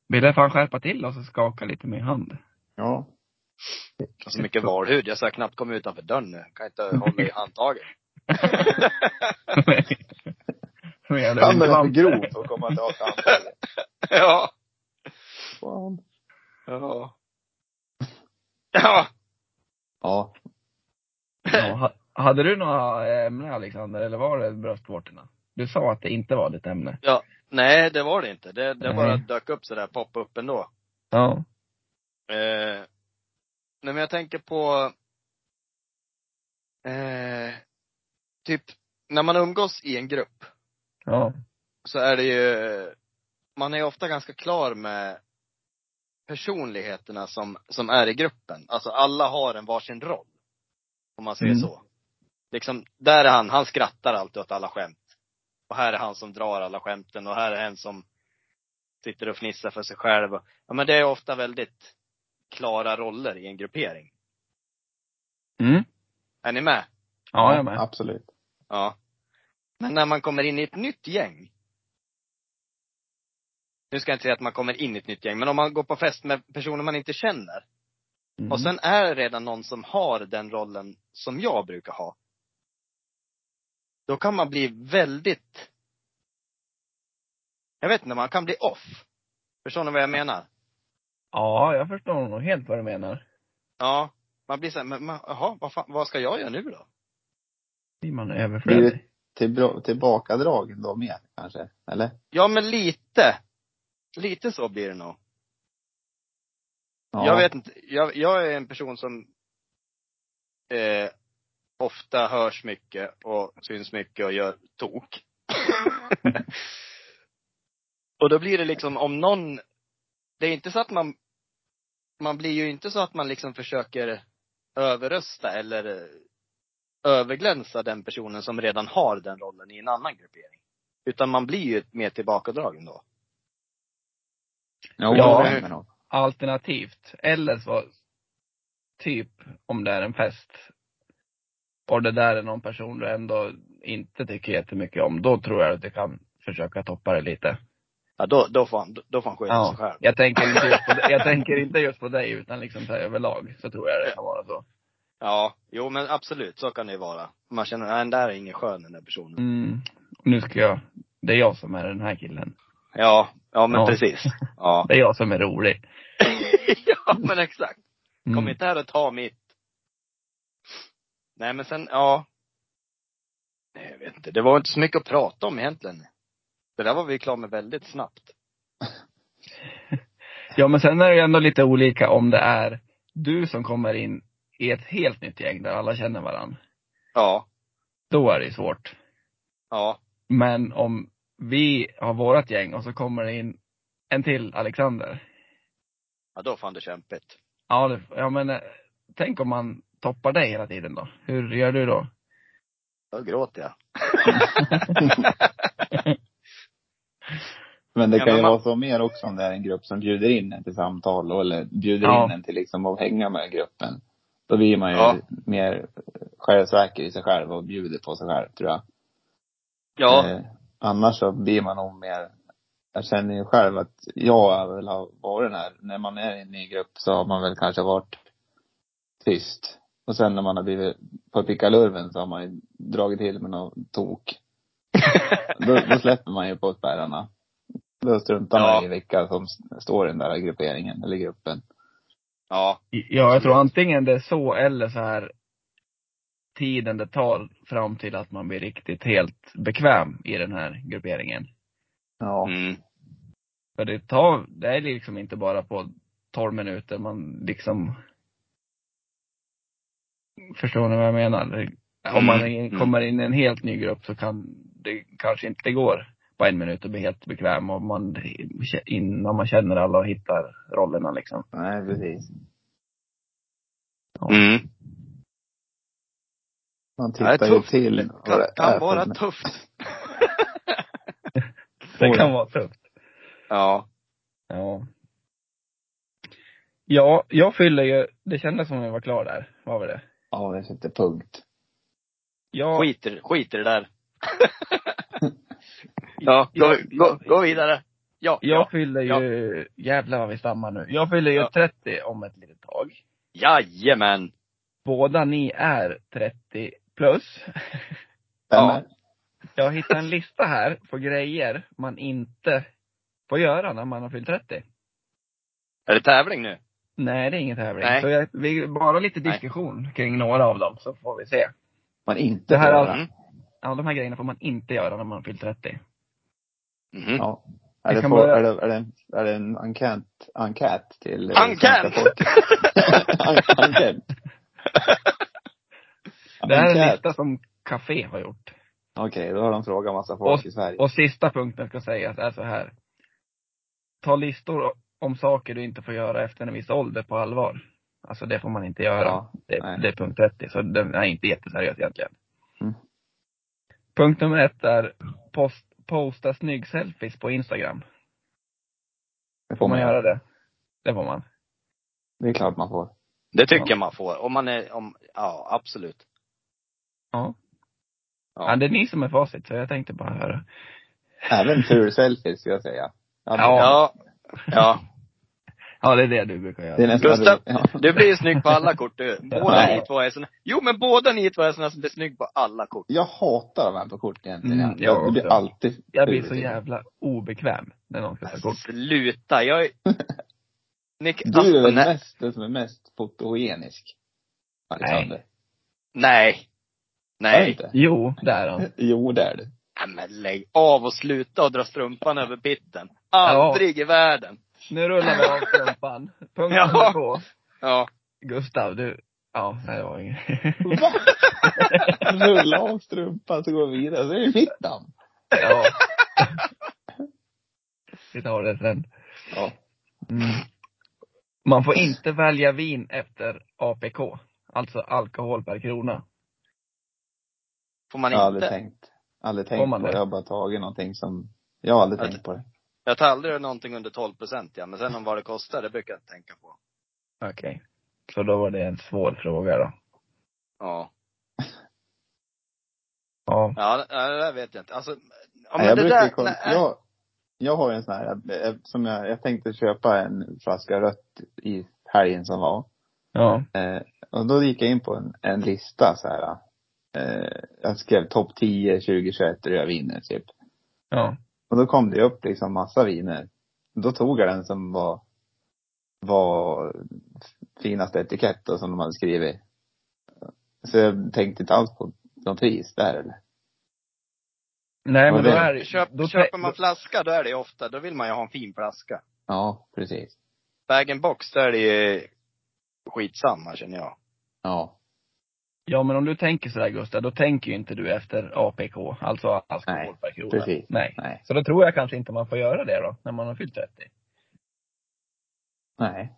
S1: Vill jag fan skärpa till oss och skaka lite med hand?
S2: Ja.
S3: Och så mycket valhud. Jag ska knappt komma utanför dörren nu. Kan inte hålla i handtaget.
S1: Som en jävla
S2: Han är för
S1: undervante.
S2: grov för att komma till antalet.
S3: ja.
S2: Fan.
S3: Ja. Ja.
S2: Ja.
S1: Ja, ha- hade du några ämnen Alexander, eller var det bröstvårtorna? Du sa att det inte var ditt ämne.
S3: Nej, det var det inte. Det, det
S1: Nej.
S3: bara dök upp sådär, poppa upp ändå.
S1: Ja.
S3: Eh, nej men jag tänker på eh, typ när man umgås i en grupp
S1: Ja.
S3: så är det ju, man är ju ofta ganska klar med personligheterna som, som är i gruppen. Alltså alla har en varsin roll. Om man säger
S1: Mm.
S3: så. Liksom, där är han, han skrattar alltid åt alla skämt. Och här är han som drar alla skämten och här är en som sitter och fnissar för sig själv. Ja men det är ofta väldigt klara roller i en gruppering.
S1: Mm.
S3: Är ni med?
S1: Ja, jag med.
S2: Absolut.
S3: Ja. Men när man kommer in i ett nytt gäng. Nu ska jag inte säga att man kommer in i ett nytt gäng, men om man går på fest med personer man inte känner.
S1: Mm.
S3: Och sen är det redan någon som har den rollen som jag brukar ha. Då kan man bli väldigt, jag vet inte, man kan bli off. Förstår ni vad jag menar?
S1: Ja, jag förstår nog helt vad du menar.
S3: Ja. Man blir såhär, men men, jaha, vad, fan, vad ska jag göra nu då?
S1: Blir man
S2: Blir
S1: överflödig?
S2: det- Till, tillbakadragen då med kanske? Eller?
S3: Ja men lite. Lite så blir det nog. Jag vet inte. Jag, jag är en person som eh, ofta hörs mycket och syns mycket och gör tok. och då blir det liksom om någon, det är inte så att man, man blir ju inte så att man liksom försöker överrösta eller eh, överglänsa den personen som redan har den rollen i en annan gruppering. Utan man blir ju mer tillbakadragen då.
S2: Jo,
S1: Ja.
S2: det stämmer nog.
S1: Alternativt, eller så, typ om det är en fest och det där är någon person du ändå inte tycker jättemycket om, då tror jag att du kan försöka toppa det lite.
S3: Ja, då, då får han, då får han skylla sig själv.
S1: Jag tänker, inte just på, jag tänker inte just på dig utan liksom så här överlag så tror jag det kan vara så.
S3: Ja, jo men absolut, så kan det ju vara. Man känner, nej den där är ingen skön den där personen.
S1: Mm. Nu ska jag, det är jag som är den här killen.
S3: Ja, ja men
S1: Ja.
S3: precis. Ja.
S1: Det är jag som är rolig.
S3: ja men exakt.
S1: Mm.
S3: Kom inte här och ta mitt. Nej men sen, ja. Nej jag vet inte, det var inte så mycket att prata om egentligen. Det där var vi klara med väldigt snabbt.
S1: Ja men sen är det ju ändå lite olika om det är du som kommer in i ett helt nytt gäng där alla känner varandra.
S3: Ja,
S1: Då är det ju svårt.
S3: ja,
S1: Men om vi har vårat gäng och så kommer det in en till Alexander.
S3: ja då fan det kämpigt.
S1: Ja, det, ja men eh, tänk om man toppar dig hela tiden då. Hur gör du då?
S3: Då gråter jag.
S2: Men det
S3: Ja,
S2: kan
S3: men
S2: ju
S3: man-
S2: vara så mer också om det är en grupp som bjuder in en till samtal och- eller bjuder
S1: Ja.
S2: in en till liksom att hänga med gruppen. Då blir man ju
S3: Ja.
S2: mer självsäker i sig själv och bjuder på sig själv tror jag.
S3: Ja,
S2: Eh, annars så blir man nog mer, jag känner ju själv att jag väl har varit den här, när man är i en ny grupp så har man väl kanske varit tyst. Och sen när man har blivit på pickalurven så har man ju dragit till med någon tok. då, då släpper man ju på spärrarna. Då struntar
S3: Ja.
S2: man i vilka som s- står i den där grupperingen eller gruppen.
S3: ja,
S1: Ja, jag tror antingen det är så eller så här tiden det tar fram till att man blir riktigt helt bekväm i den här grupperingen.
S2: Ja.
S3: mm.
S1: För det tar, det är liksom inte bara på 12 minuter man liksom Förstår ni vad jag menar? Det- Om man
S3: Mm,
S1: är- kommer in i en helt ny grupp så kan det kanske inte går på en minut att bli helt bekväm om man, innan man känner alla och hittar rollerna liksom.
S2: Nej, precis.
S3: mm.
S2: Man
S3: Det är
S2: tittar ju
S3: tufft.
S2: till.
S3: Det
S2: vad
S3: kan,
S2: det är
S3: kan
S2: för
S3: vara
S2: män-
S3: tufft.
S1: Det kan vara tufft.
S3: Ja.
S1: Ja. Ja, jag fyller ju, det kändes som jag var klar där. Var vi det?
S2: Ja, det sätter punkt.
S1: Jag,
S3: Skiter, skiter det där. ja, gå, gå, gå vidare. Ja,
S1: jag
S3: ja.
S1: fyller ju, jävlar vad vi stammar nu. Jag fyller ju
S3: Ja.
S1: 30 om ett litet tag.
S3: Jajamän.
S1: Båda ni är 30 plus.
S3: Ja.
S2: Stämmer?
S1: Jag hittade en lista här på grejer man inte får göra när man har fyllt 30.
S3: Är det tävling nu?
S1: Nej, det är inget tävling.
S3: Nej.
S1: Så jag, vi, bara lite diskussion kring några av dem så får vi se.
S2: man inte
S1: Det här
S2: får
S1: är
S2: göra.
S1: allt. Ja, de här grejerna får man inte göra när man fyllt 30.
S3: Mhm.
S2: Ja. Är
S1: Vi Mm.
S2: det,
S1: kan
S2: på,
S1: börja-
S2: är, det, är, det, är det en enkät, enkät till eh,
S3: Enkät!
S2: svenska folket? En- enkät?
S1: Det här är en
S2: Enkät.
S1: lista som Café har gjort.
S2: Okej, då har de frågat massa folk i Sverige.
S1: Och sista punkten ska sägas är så här. Ta listor om saker du inte får göra efter en viss ålder på allvar. Alltså det får man inte göra.
S2: Ja,
S1: det,
S2: nej.
S1: det är punkt 30. Så den är inte jätteseriös egentligen.
S2: Mm.
S1: Punkt nummer ett är post, posta snygg-selfies på Instagram.
S2: det
S1: Får man göra det? Det får man.
S2: Det är klart man får.
S3: Det tycker
S2: Ja.
S3: jag man får. Om man är, om, ja absolut.
S1: Ja.
S3: Ja.
S1: ja. det är ni som är facit, så jag tänkte bara höra.
S2: Även fur-selfies skulle jag säga. Ja. men-
S3: Ja. ja.
S1: Ja, det är det du brukar
S2: Det är
S1: göra.
S2: nästan
S3: Gustav,
S2: ja.
S3: Du blir ju snygg på alla kort du. Båda
S2: Ja.
S3: ni två är såna. Jo men båda ni två är såna som blir snygg på alla kort.
S2: Jag hatar de här på kort egentligen.
S1: Mm,
S2: jag,
S1: ja,
S2: det blir
S1: ja.
S2: alltid
S1: Jag blir
S2: ful.
S1: så jävla obekväm när någon ska ta kort.
S3: Sluta, jag är... Nick,
S2: Du är väl
S3: nej,
S2: mest, den som är mest fotogenisk? Alexander.
S3: nej.
S2: Är du
S3: Nej.
S2: inte?
S1: Jo, det är han.
S2: Jo, det är du.
S3: Nej, men lägg av och sluta och dra strumpan över pitten. Aldrig i världen.
S1: Nu rullar vi av strumpan. Punkt
S3: Ja.
S1: nummer två.
S3: Ja.
S1: Gustav, du. Ja, nej, det var inget.
S2: Va? Rulla av strumpan så går vi vidare. Så är det mitt namn.
S1: ja. Vi tar det sen.
S2: Ja.
S1: Mm. Man får inte välja vin efter APK. Alltså alkohol per krona.
S3: Får man
S2: Jag har aldrig
S3: inte.
S2: tänkt, aldrig
S1: Får
S2: tänkt på
S1: man
S2: det.
S1: det?
S2: Jag har bara tagit någonting som, jag har aldrig
S3: Att-
S2: tänkt på det.
S3: Jag tar aldrig någonting under 12 procent ja. Men sen om vad det kostar, det brukar jag inte tänka på.
S1: Okej. Så då var det en svår fråga då.
S3: Ja.
S1: Ja.
S3: Ja, det, ja, det där vet jag inte. Alltså, ja, men
S2: Nej, jag
S3: det
S2: brukar
S3: där,
S2: kolla,
S3: nej.
S2: jag, jag har ju en sån här, eh, som jag, jag tänkte köpa en flaska rött i helgen som var.
S1: Ja.
S2: Eh, och då gick jag in på en, en lista så här. Eh, jag skrev topp 10 2021 rödviner typ.
S1: Ja.
S2: Och då kom det upp liksom massa viner. Då tog jag den som var, var finaste etikett då, som de hade skrivit. Så jag tänkte inte alls på någon pris där eller.
S1: Nej men
S2: Vad
S1: då
S2: det?
S1: är det-
S3: Köp,
S1: då,
S3: köper man flaska, då är det ju ofta, då vill man ju ha en fin flaska.
S2: Ja, precis.
S3: bag box då är det ju skitsamma känner jag.
S2: Ja.
S1: Ja men om du tänker sådär Gustav, då tänker ju inte du efter APK. Alltså alkohol
S2: Nej,
S1: per krona.
S2: precis.
S1: Nej.
S2: Nej.
S1: Så då tror jag kanske inte man får göra det då, när man har fyllt 30.
S2: Nej.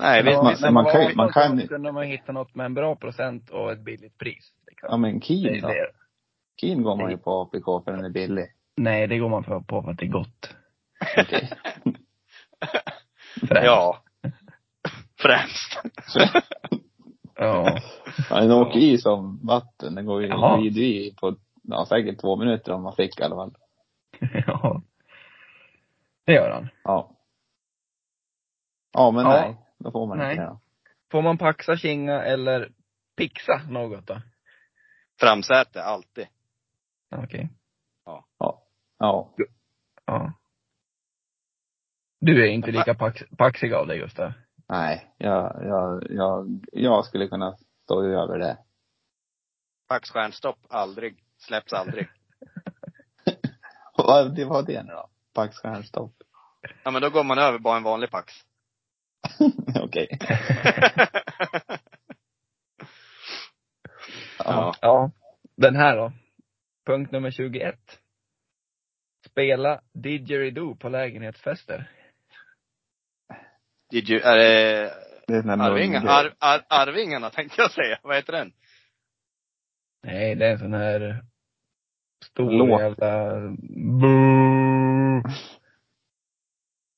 S3: Nej, vi,
S2: Ja,
S3: vi,
S2: men man kan ju- man kan ju-
S1: ju. kunde man hitta något med en bra procent och ett billigt pris. Liksom.
S2: Ja
S1: det
S2: men
S1: är
S2: Keen då.
S1: det.
S2: Keen går man ju på APK för den är billig.
S1: Nej, det går man för, på för att det är gott.
S2: Okej.
S1: Främst.
S3: ja. Främst.
S1: ja.
S2: Ja, den åker i som vatten. Den går ju,
S1: Jaha.
S2: glider ju i på, ja säkert två minuter om man fick i alla fall.
S1: Ja. Det gör han.
S2: Ja. Ja men
S1: Ja.
S2: nej, då får man
S1: Nej.
S2: inte det då.
S1: Får man paxa, kinga eller pixa något då?
S3: Framsäte, alltid.
S1: Okej.
S2: Ja.
S1: Ja. Du är inte lika pax, paxig av dig Gustav.
S2: Nej, jag, jag, jag, jag skulle kunna stå över det.
S3: Packstjärnstopp, aldrig. Släpps aldrig.
S2: Vad det var det nu då? Packstjärnstopp.
S3: Ja men då går man över bara en vanlig pax.
S2: Okej. Ja.
S3: ja.
S1: Ja. Den här då. Punkt nummer 21. Spela didgeridoo på lägenhetsfester.
S3: Did you, är det
S2: Det är den här
S3: Arvingarna,
S2: munnen-
S3: Ar- Ar- Arvingarna tänkte jag säga. Vad heter den?
S1: Nej, det är en sån här stor
S2: Låt.
S1: jävla... Boo.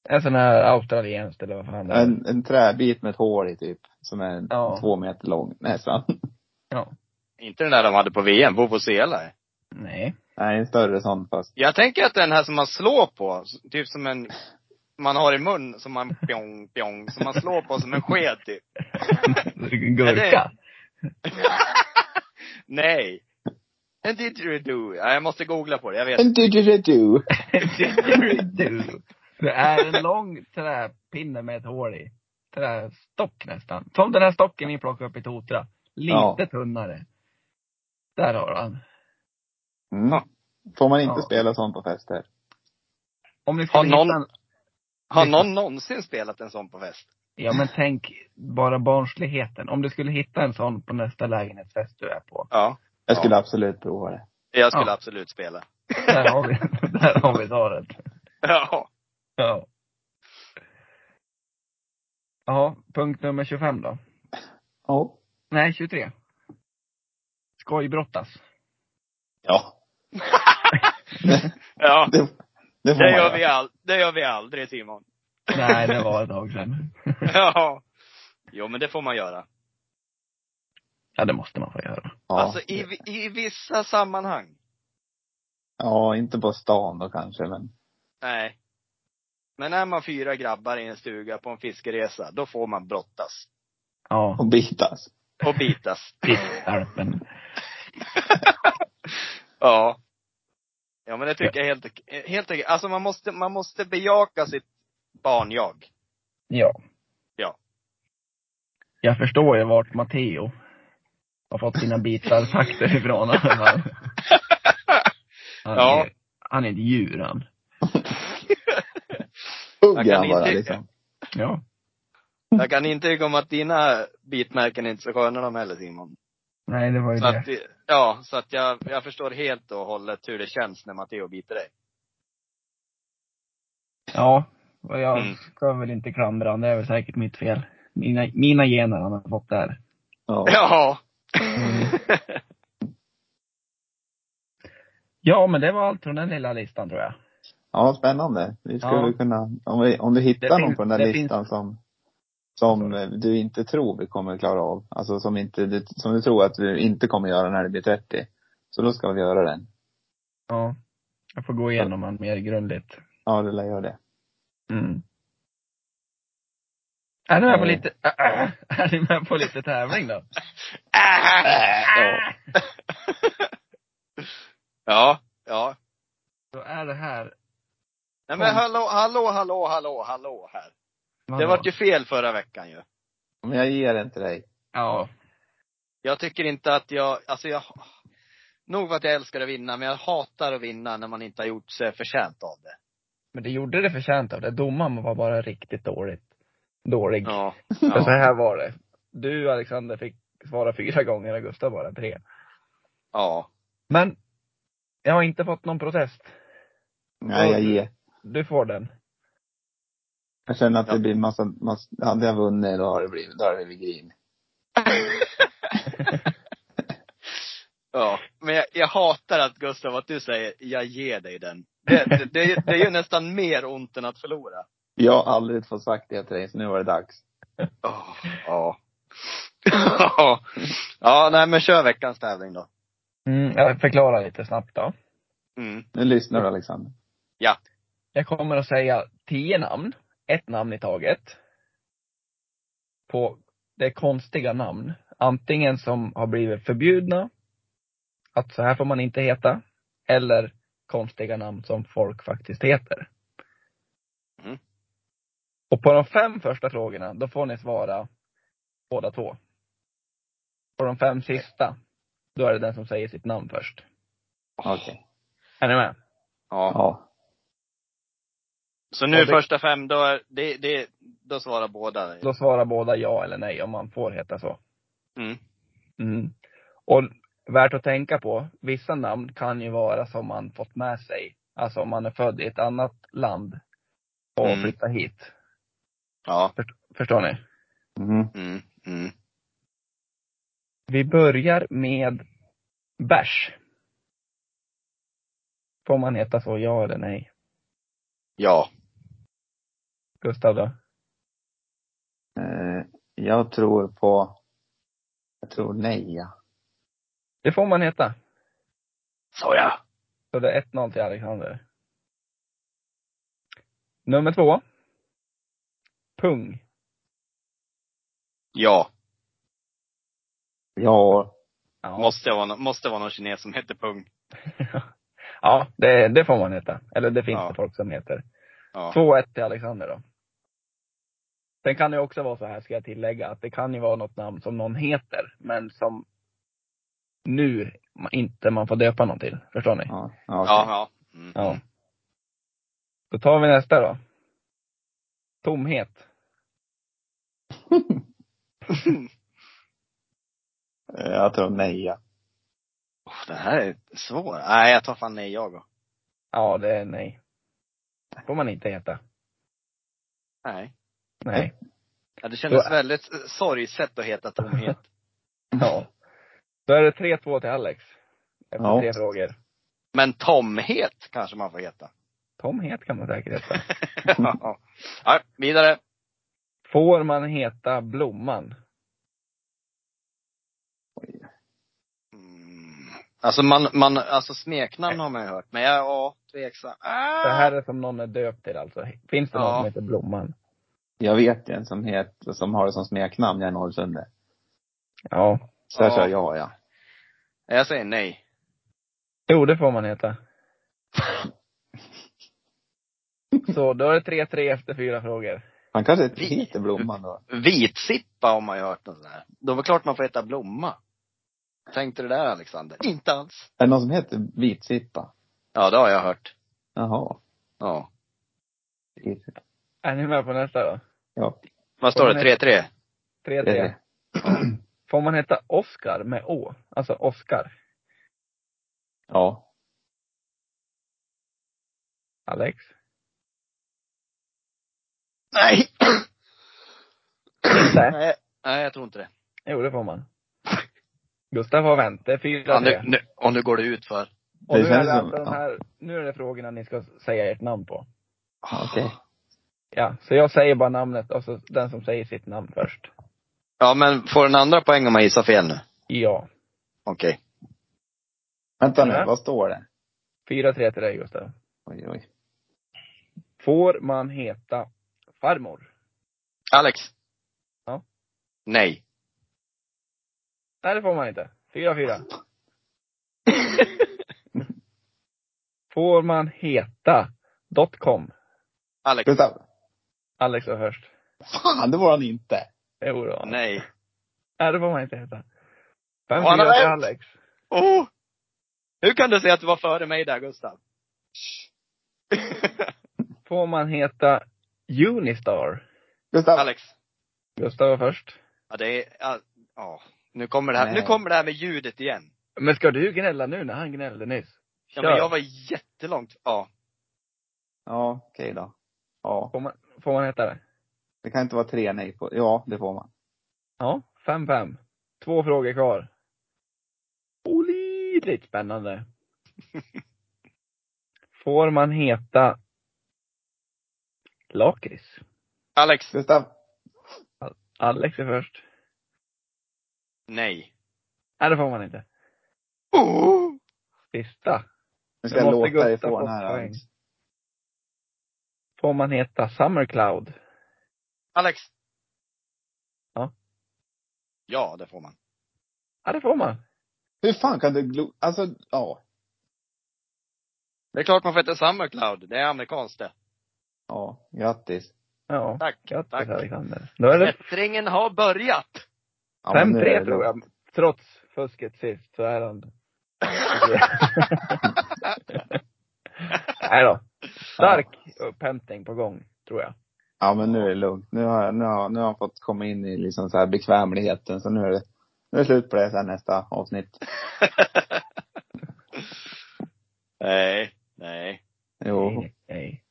S1: En sån här australiensk eller vad fan det är.
S2: en, en träbit med ett hål i typ. Som är
S1: Ja.
S2: två meter lång nästan.
S3: Inte den där de hade på VM, Vuvuzela.
S1: Nej.
S2: Nej, en större sån fast.
S3: Jag tänker att den här som man slår på, s- typ som en, man har i mun, som man pjong, pjong, som man slår på som en sked typ.
S1: Gurka.
S3: Nej. En didgeridoo. Ja, jag måste googla på det, jag vet
S2: En didgeridoo.
S1: Didgeridoo. Det är en lång träpinne med ett hål i. Trästock nästan. Som den här stocken ni plockade upp i Totra. Lite
S2: Ja.
S1: tunnare. Där har han.
S2: Mm. Får man inte
S1: Ja.
S2: spela sånt på fester?
S1: Om ni
S3: Har
S1: skulle
S3: någon-
S1: hitta en...
S3: Har någon någonsin spelat en sån på fest?
S1: Ja men tänk bara barnsligheten. Om du skulle hitta en sån på nästa lägenhetsfest du är på.
S3: Ja.
S2: Jag skulle absolut prova det.
S3: Jag skulle
S1: Ja.
S3: absolut spela.
S1: Där har vi, där har vi svaret.
S3: Ja.
S1: Ja. Ja, punkt nummer 25 då.
S2: Ja.
S1: Nej, 23. Skojbrottas.
S2: Ja.
S3: Ja.
S2: Det, det får
S3: Det
S2: man
S3: gör, vi
S2: göra.
S3: all, det gör vi aldrig Simon.
S1: Nej, det var ett tag sedan.
S3: Ja. Jo men det får man göra.
S1: Ja, det måste man få göra.
S2: Ja.
S3: alltså i, vi- i vissa sammanhang.
S2: ja, inte på stan då kanske, men
S3: Nej. Men är man fyra grabbar i en stuga på en fiskeresa, då får man brottas.
S1: Ja,
S2: och bitas.
S3: Och bitas.
S1: pissstarpen.
S3: Ja. Ja men det tycker jag helt, helt enkelt. Alltså man måste, man måste bejaka sitt barnjag.
S1: Ja.
S3: Ja.
S1: Jag förstår ju vart Matteo har fått sina bitar takter ifrån. Han, han,
S3: Ja.
S1: är, han är ett djur han.
S3: Man
S2: Hugger
S3: kan
S2: han bara
S3: inte-
S2: liksom.
S1: Ja.
S3: Jag kan intyga om att dina bitmärken är inte så sköna de heller Simon.
S1: Nej, det var ju
S3: Så att,
S1: det.
S3: ja, så att jag, jag förstår helt och hållet hur det känns när Matteo biter dig.
S1: Ja, och jag
S3: Mm.
S1: ska väl inte klandra honom. Det är väl säkert mitt fel. Mina, mina gener han har fått där.
S2: Ja.
S3: Ja.
S1: Ja, men det var allt från den lilla listan tror jag.
S2: Ja, spännande. Vi skulle
S1: Ja.
S2: kunna, om, vi, om du
S1: Det
S2: hittar någon
S1: finns-
S2: på den där
S1: det
S2: listan som, som eh, du inte tror vi kommer klara av, alltså som inte, du, som du tror att du inte kommer göra när du blir 30. Så då ska vi göra den.
S1: Ja. Jag får gå igenom han mer grundligt.
S2: Ja, du lär göra det.
S1: Mm. Är ni med på
S2: Ja.
S1: lite, äh, äh, är ni med på lite tävling då?
S3: ja. ja. Ja.
S1: Då är det här.
S3: Nej men hallå, hallå, hallå, hallå, hallå här. Det vart ju fel förra veckan ju.
S2: Men jag ger den till dig.
S1: Ja.
S3: Jag tycker inte att jag, alltså jag, nog för att jag älskar att vinna, men jag hatar att vinna när man inte har gjort sig förtjänt av det.
S1: Men det gjorde det förtjänt av det. Domaren var bara riktigt dåligt. Dålig.
S3: Ja.
S1: Men så
S3: Ja.
S1: här var det. Du Alexander fick svara fyra gånger och Gustav bara tre.
S3: ja.
S1: Men jag har inte fått någon protest.
S2: Nej, jag ger.
S1: Du får den.
S2: Jag känner att
S3: Ja.
S2: det blir massa, massa, hade jag vunnit då har det blivit, då har det blivit grin.
S3: Ja, men jag, jag hatar att Gustav, att du säger, jag ger dig den. Det, det, det, är ju- det är ju nästan mer ont än att förlora.
S2: Jag har aldrig fått sagt det till dig, så nu var det dags.
S3: Oh, Ja. ja. ja, nej men kör veckans tävling då.
S1: Mm, jag förklarar lite snabbt då.
S3: Mm.
S2: Nu lyssnar du Alexander.
S1: Jag kommer att säga tio namn, ett namn i taget. På, det är konstiga namn. Antingen som har blivit förbjudna, att så här får man inte heta. Eller konstiga namn som folk faktiskt heter.
S3: Mm.
S1: Och på de fem första frågorna, då får ni svara båda två. På de fem sista, då är det den som säger sitt namn först.
S2: Okej.
S1: Är ni med?
S3: Ja.
S2: Ja.
S3: Så nu
S1: Ja, det-
S3: första fem, då, är, det, det, då svarar båda.
S1: Då svarar båda ja eller nej om man får heta så.
S3: Mm.
S1: Mm. Och värt att tänka på, vissa namn kan ju vara som man fått med sig. Alltså om man är född i ett annat land och
S3: Mm.
S1: flyttar hit.
S3: Ja.
S1: Förstår ni?
S2: Mhm.
S3: Mm. Mm.
S1: Vi börjar med bärs. Får man heta så, ja eller nej?
S3: Ja.
S1: Gustav då?
S2: Eh, jag tror på, jag tror nej ja.
S1: Det får man heta.
S3: Så ja.
S1: Så det är 1-0 till Alexander. Nummer två. Pung.
S3: Ja.
S2: Ja.
S1: Ja,
S3: Måste vara, nå- måste vara någon kines som heter Pung.
S1: ja det, det får man heta. Eller det finns
S3: Ja.
S1: det folk som heter.
S3: Ja.
S1: 2-1 till Alexander då. Sen kan det ju också vara så här, ska jag tillägga, att det kan ju vara något namn som någon heter, men som nu man inte man får döpa någon till. Förstår ni?
S2: Ja, ja, okej.
S3: Ja, ja. Mm.
S1: Ja. Då tar vi nästa då. Tomhet.
S2: Eh, Jag tror nej, ja.
S3: Oh, det här är svår. Nej, jag tar fan nej jag då.
S1: Ja, det är nej. Får man inte heta.
S3: Nej.
S1: Nej.
S3: Ja, det kändes
S1: Då-
S3: väldigt eh, sorgset att heta tomhet.
S1: Ja. Då är det 3-2 till Alex. Efter
S2: Ja.
S1: tre frågor.
S3: Men tomhet kanske man får heta.
S1: Tomhet kan man säkert heta.
S3: ja, vidare.
S1: Får man heta Blomman?
S3: Mm. Alltså man, man, alltså smeknamn har man ju hört. Men jag, ja, tveksam. Ah!
S1: Det här är som någon är döpt till alltså. Finns det någon
S3: Ja.
S1: som heter Blomman?
S2: Jag vet ju en som heter, som har det som smeknamn, jag är norrsunde.
S1: Ja.
S2: Så där
S3: Ja.
S2: kör jag, ja.
S3: Jag säger nej.
S1: Jo, det får man heta. Så, då är det 3-3 efter fyra frågor.
S2: Han kanske inte
S3: Vi-
S2: heter Blomman då.
S3: Vitsippa har man ju hört något sånt där. Då är det klart man får heta blomma. Tänkte du där Alexander? Inte alls.
S2: Är det någon som heter Vitsippa?
S3: Ja, det har jag hört.
S2: Jaha.
S3: Ja.
S2: Vitsippa.
S1: Är ni med på nästa då?
S2: Ja.
S3: Vad står det? 3-3?
S1: 3-3. Får man heta Oscar med Å? Alltså Oscar.
S2: Ja.
S1: Alex?
S3: Nej.
S1: Inte?
S3: Nej. Nej, jag tror inte det.
S1: Jo, det får man. Gustav har vänt. Det är
S3: Ja,
S1: 4-3.
S3: nu, nu, och nu går det ut för.
S1: Och nu
S2: Det
S1: är
S2: känns
S1: det alltså
S2: som-
S1: de här, nu är det frågorna ni ska säga ert namn på.
S2: Okej.
S1: Ja, så jag säger bara namnet och så den som säger sitt namn först.
S3: Ja, men får den andra poäng om man gissar fel nu?
S1: Ja.
S3: Okej.
S2: Vänta
S1: Ja.
S2: nu, vad står det?
S1: 4-3 till dig Gustav.
S2: Oj, oj.
S1: Får man heta farmor?
S3: Alex?
S1: Ja.
S3: Nej.
S1: Nej, det får man inte. 4-4. får man heta dotcom?
S3: Alex?
S2: Gustav.
S1: Alex var först.
S2: Fan, det var han inte.
S1: Jo då. Nej.
S3: Nej.
S1: det får man inte heta. 5-4
S3: han har
S1: till
S3: rätt!
S1: Alex.
S3: Oh! Hur kan du säga att du var före mig där, Gustav?
S1: Får man heta Unistar?
S2: Gustav.
S3: Alex?
S1: Gustav var först.
S3: Ja, det är, ja, ja. Nu kommer det här, nu
S2: Nej.
S3: kommer det här med ljudet igen.
S1: Men ska du gnälla nu när han gnällde nyss?
S3: Ja, men
S1: Kör.
S3: jag var jättelångt, ja.
S2: Ja, okej då. Ja.
S1: Får man, får man heta det?
S2: Det kan inte vara tre nej på. Ja, det får man.
S1: Ja, 5-5. Två frågor kvar. Olidligt spännande. Får man heta Lakrits?
S3: Alex?
S2: Gustav.
S1: Alex är först.
S3: Nej.
S1: Nej, det får man inte.
S3: Oh!
S1: Sista.
S2: Nu ska
S1: Nu
S2: jag
S1: måste
S2: låta dig
S1: Gustav
S2: få den
S1: få
S2: här.
S1: poäng.
S2: Alex.
S1: Får man heta Summercloud?
S3: Alex?
S1: Ja.
S3: Ja, det får man.
S1: Ja, det får man.
S2: Hur fan kan du glo... Alltså, ja.
S3: Det är klart man får heta Summercloud. Det är amerikanskt det.
S2: Ja, grattis.
S1: Ja.
S3: Tack.
S1: Grattis
S3: tack.
S1: Alexander. Då är det
S3: Klättringen har börjat.
S2: Ja, men nu är
S1: 5-3
S2: det
S1: tror jag. Trots fusket sist så är han... Nej då. Stark upphämtning på gång, tror jag.
S2: Ja, men nu är det lugnt. Nu har, jag- nu har, nu har han fått komma in i liksom så här bekvämligheten. Så nu är det, nu är det slut på det sen nästa avsnitt.
S3: nej, nej.
S2: Jo.
S1: Nej, nej.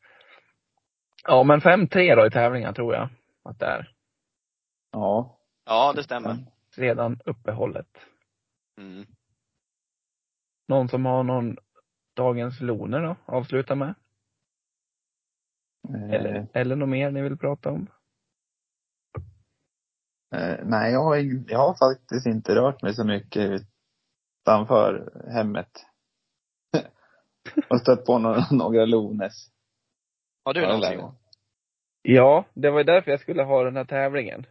S1: Ja, men 5-3 då i tävlingen tror jag att det är.
S2: Ja.
S3: Ja, det
S2: Mm.
S3: stämmer.
S1: Redan uppehållet.
S3: Mm.
S1: Någon som har någon dagens loner då, avsluta med?
S2: Eh,
S1: Eller, eller något mer ni vill prata om?
S2: eh, nej, jag har, ing- jag har faktiskt inte rört mig så mycket utanför hemmet. Och stött på några, några lones.
S3: Har du
S2: Ja,
S3: någonting?
S2: det
S3: Johan?
S1: Ja, det var ju därför jag skulle ha den här tävlingen.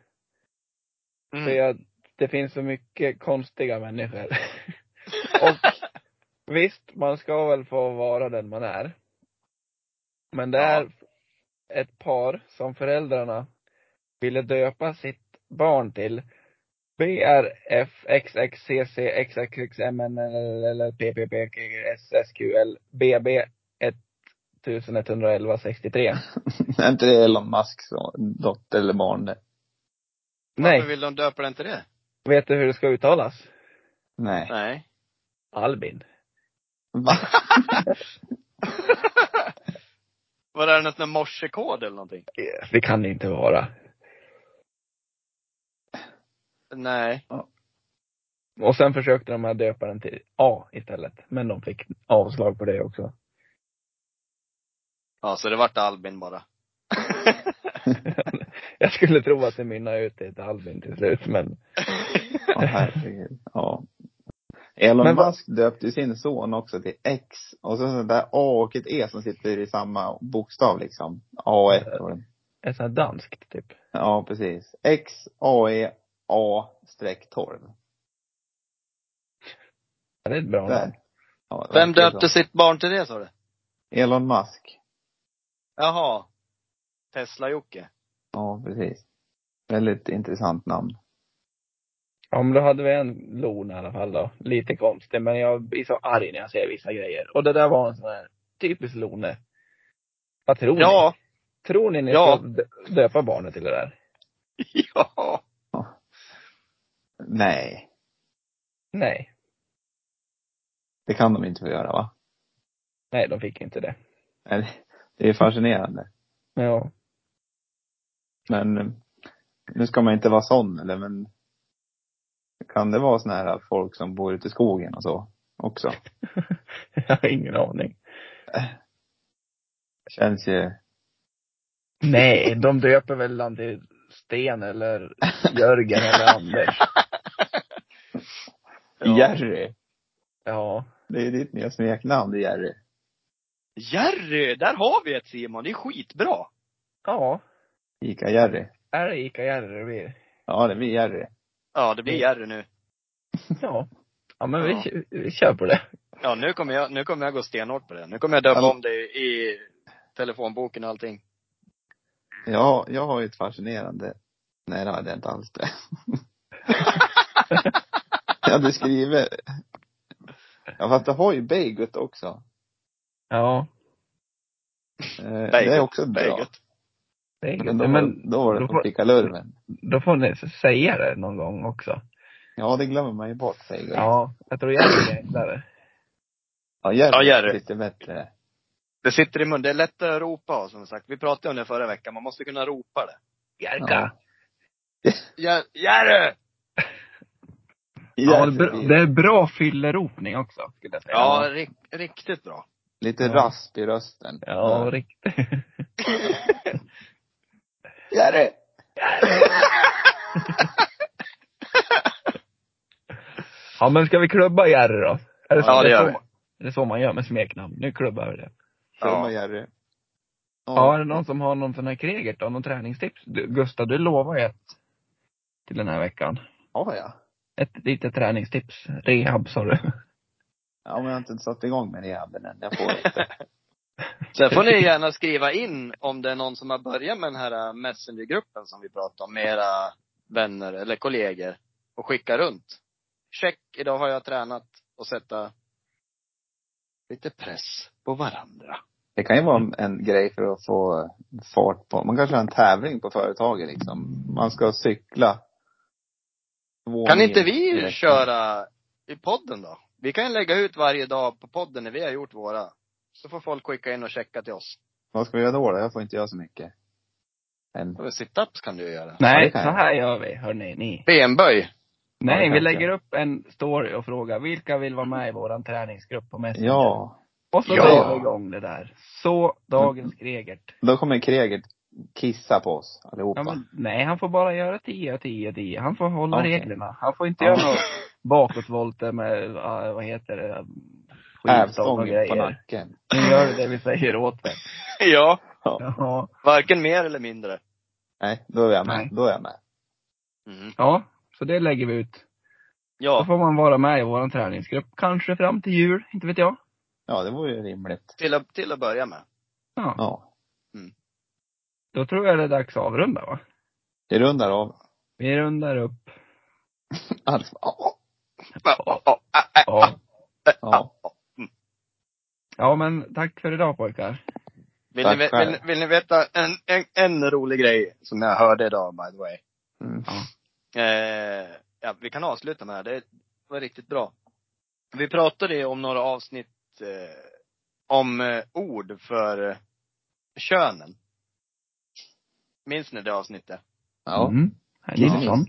S1: För
S3: Mm.
S1: jag, det finns så mycket konstiga människor. och visst, man ska väl få vara den man är. Men det är ett par som föräldrarna ville döpa sitt barn till BRFXXCCXXXMNLPPPSSQL BB 111163.
S2: Är inte det Elon Musks son- dotter eller barn det?
S3: Varför
S1: Nej,
S3: vill de döpa den till det?
S1: vet du hur det ska uttalas?
S2: Nej.
S3: Nej.
S1: Albin.
S2: Va?
S3: Var det något med morsekod eller någonting?
S1: Det kan det inte vara.
S3: Nej.
S1: Och sen försökte de här döpa den till A istället. Men de fick avslag på det också.
S3: Ja, så det vart Albin bara.
S1: Jag skulle tro att det mynnar ut i ett Albin till slut, men
S2: Åh herregud. Ja. Elon
S1: Men vad-
S2: Musk döpte ju sin son också till X. Och så sånt där A och ett E som sitter i samma bokstav liksom. A1 var det.
S1: ett sånt här danskt typ.
S2: Ja, precis. X, AE, A, streck 12.
S1: Ja, Det är ett bra namn.
S2: Där. Ja, det
S3: Vem
S2: verkar
S3: döpte
S2: så.
S3: sitt barn till det sa du?
S2: Elon Musk.
S3: Jaha. Tesla-Jocke.
S2: Ja, precis. Väldigt intressant namn.
S1: Ja, men då hade vi en lon i alla fall då. Lite konstig, men jag blir så arg när jag ser vissa grejer. Och det där var en sån här typisk lone. Vad tror ni?
S3: Ja.
S1: Tror ni ni
S3: Ja.
S1: ska dö- döpa barnet till det där?
S3: Ja.
S2: Nej,
S1: Nej.
S2: det kan de inte få göra va?
S1: Nej, de fick inte det.
S2: Eller, Det är fascinerande.
S1: Ja.
S2: Men eh, nu ska man inte vara sån eller men kan det vara såna här folk som bor ute i skogen och så också?
S1: jag har ingen aning.
S2: Känns ju,
S1: Nej, de döper väl han till Sten eller Jörgen eller Anders.
S2: Jerry.
S1: Ja.
S2: Det är ditt nya smeknamn, det är Jerry.
S3: Jerry! Där har vi ett Simon. Det är skitbra.
S1: Ja.
S2: Ica-Jerry.
S1: Är det Ica Jerry det blir?
S2: Ja, det blir Jerry.
S3: Ja, det blir Jerry nu.
S1: Ja. Ja men vi, vi kör på det.
S3: Ja, nu kommer jag, nu kommer jag gå stenhårt på det. Nu kommer jag döpa
S2: Ja.
S3: om det i telefonboken och allting.
S2: Ja, jag har ju ett fascinerande, nej det hade jag inte alls det. jag hade skrivit, ja fast det har ju Baggot också.
S1: Ja.
S2: Eh, det är också bra.
S3: Baggot.
S1: Det är
S2: Men
S1: gud.
S2: då,
S1: Men
S2: då var
S1: då
S2: det
S1: får-
S2: på pickalurven.
S1: då får ni säga det någon gång också.
S2: Ja, det glömmer man ju bort, säger Gunnar.
S1: Ja. Jag tror Jerry är enklare.
S2: Ja, Jerry.
S3: Ja, Jerry.
S2: Lite bättre.
S3: Det sitter i munnen. Det är lättare att ropa som sagt. Vi pratade om det förra veckan. Man måste kunna ropa det.
S1: Jerka.
S3: Jer- Jerry!
S1: Ja,
S2: Jerry
S1: det är bra-
S2: blir
S1: det är bra fylleropning också, skulle jag säga.
S3: Ja, rik, riktigt bra.
S2: Lite
S1: Ja.
S2: rasp i rösten.
S1: Ja, riktigt.
S2: Jerry!
S1: Ja men ska vi klubba Jerry då? Är det så,
S3: Ja, det gör
S1: är så,
S3: vi.
S1: man- det är så man gör med smeknamn. Nu klubbar vi det.
S2: Tjena Jerry.
S1: Ja, är det någon som har någon sån här kregert då? Någon träningstips? Du, Gustav, du lovar ju ett till den här veckan.
S2: ja, ja.
S1: Ett litet träningstips. Rehab sa du.
S2: Ja, men jag har inte satt igång med rehaben än. Jag får inte.
S3: Sen får ni gärna skriva in om det är någon som har börjat med den här äh, Messengergruppen som vi pratade om, med era vänner eller kollegor. Och skicka runt. Check, idag har jag tränat. Och sätta lite press på varandra.
S2: Det kan ju vara en, en grej för att få fart på, man kanske har en tävling på företaget liksom. Man ska cykla. Två
S3: Kan
S2: mil
S3: inte
S2: i
S3: vi
S2: veckan.
S3: köra i podden då? Vi kan ju lägga ut varje dag på podden när vi har gjort våra. Så får folk skicka in och checka till oss.
S2: Vad ska vi göra då? då? Jag får inte göra så mycket. Än.
S3: Och Situps kan du ju göra.
S2: Ja,
S1: Nej,
S2: det
S1: så
S2: kan jag.
S1: här gör vi, hörni. Ni.
S3: Benböj.
S1: Nej,
S2: kan
S1: vi
S2: jag
S1: lägger upp en story och frågar vilka vill vara med i våran träningsgrupp på Messenger?
S2: Ja. Mm.
S1: Och så
S3: Ja.
S1: drar vi igång det där. Så, dagens kregert.
S2: Då kommer Kregert kissa på oss allihopa.
S1: Ja, men, nej, han får bara göra 10, 10, 10. Han får hålla
S2: Okej.
S1: reglerna. Han får inte
S2: Ja.
S1: göra något bakåtvolter med, äh, vad heter det, skivstång och
S2: Hävstången på
S1: grejer.
S2: nacken.
S1: Nu gör du det vi säger åt dig.
S3: Ja.
S1: Ja.
S3: Varken mer eller mindre.
S2: Nej, då är jag med.
S1: Nej.
S2: Då är jag med.
S3: Mm.
S1: ja, så det lägger vi ut. Då
S3: Ja,
S1: får man vara med i vår träningsgrupp. Kanske fram till jul, inte vet jag.
S2: Ja, det vore ju rimligt.
S3: till att, till att börja med.
S1: Ja.
S2: Ja.
S1: Då tror jag det är dags att avrunda va?
S2: Vi rundar av.
S4: Äh,
S1: Vi rundar upp.
S4: Allt. Alltså, Ja.
S3: Ja, ja, ja,
S4: ah.
S1: Ja.
S4: ja.
S1: ja, men tack för idag pojkar.
S3: Vill, ni,
S4: Tack
S3: ve-
S4: själv.
S3: vill, vill ni veta en, en, en rolig grej som jag hörde idag by the way?
S4: Mm.
S3: Eh, ja, vi kan avsluta med det. här. Det var riktigt bra. Vi pratade ju om några avsnitt eh, om eh, ord för eh, könen. Minns ni det avsnittet?
S4: ja.
S1: Mm. Herr Nilsson.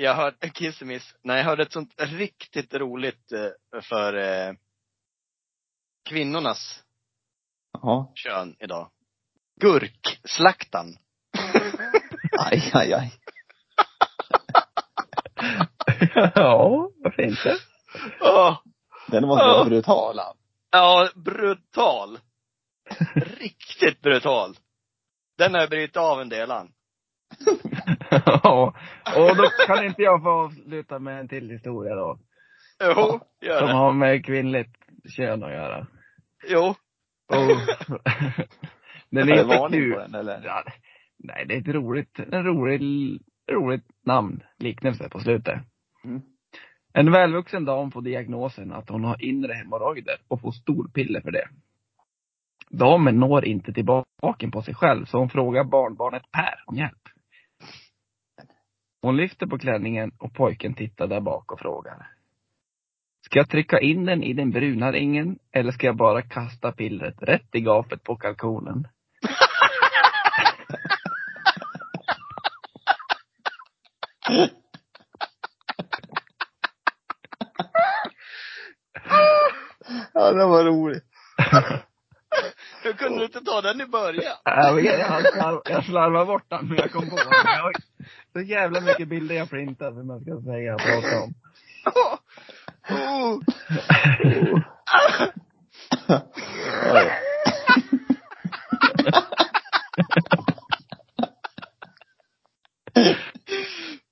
S3: Jag hörde, kissemiss, nej jag hörde ett sånt riktigt roligt eh, för eh, kvinnornas
S4: ja.
S3: kön idag. Gurkslaktan.
S4: Aj, aj, aj.
S1: ja, varför inte?
S3: Åh!
S4: Den måste
S3: Ja.
S4: vara brutal. alltså. han.
S3: Ja, brutal. Riktigt brutal. Den har jag brutit av en del an.
S1: ja. Och då kan inte jag få avsluta med en till historia då.
S3: Jo, gör
S1: Som
S3: det.
S1: har med kvinnligt kön att göra.
S3: Jo.
S1: Och den
S4: Är det
S1: heter
S4: varning
S1: kul.
S4: på den eller?
S1: Ja, nej, det är ett roligt, en rolig, roligt namn, liknelse på slutet.
S4: Mm.
S1: En välvuxen dam får diagnosen att hon har inre hemorrojder och får storpiller för det. Damen når inte tillbaka på sig själv så hon frågar barnbarnet Per om hjälp. Hon lyfter på klänningen och pojken tittar där bak och frågar. Ska jag trycka in den i den bruna ringen eller ska jag bara kasta pillret rätt i gapet på kalkonen?
S4: Ja, det var roligt.
S3: Hur kunde du inte ta den i början?
S1: Jag, vet, jag, slarv, jag slarvar bort den, men jag kom på den. Jag har så jävla mycket bilder jag printar, för man ska säga och prata om.
S3: Åh. Oh.
S4: Ja,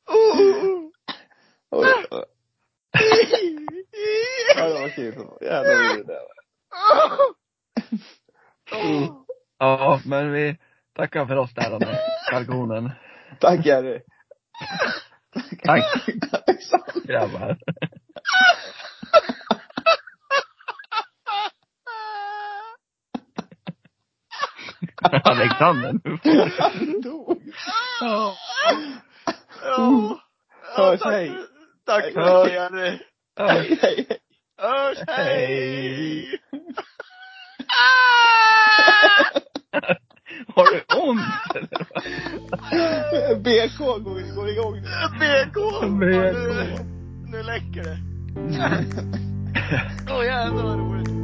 S3: Oh.
S4: Oj, oj. Ja, det var kul. Jävla roligt det var.
S3: Oh. Oh.
S1: Ja, men vi tackar för oss där med kalkonen.
S4: Tack Jerry.
S1: Tack
S4: Tack så mycket.
S1: grabbar. Alexander, nu får du.
S4: Han dog.
S1: Ja.
S3: Ja.
S4: Hörs,
S3: tack,
S4: hej.
S3: Tack
S4: Hej.
S3: för det, Jerry.
S1: Ja.
S4: Hej, hej.
S3: Hörs, hej!
S1: Hej. Har du ont eller? vad?
S4: BK går, går igång nu.
S3: BK!
S1: BK.
S3: Nu, nu läcker det. Åh jävlar vad roligt.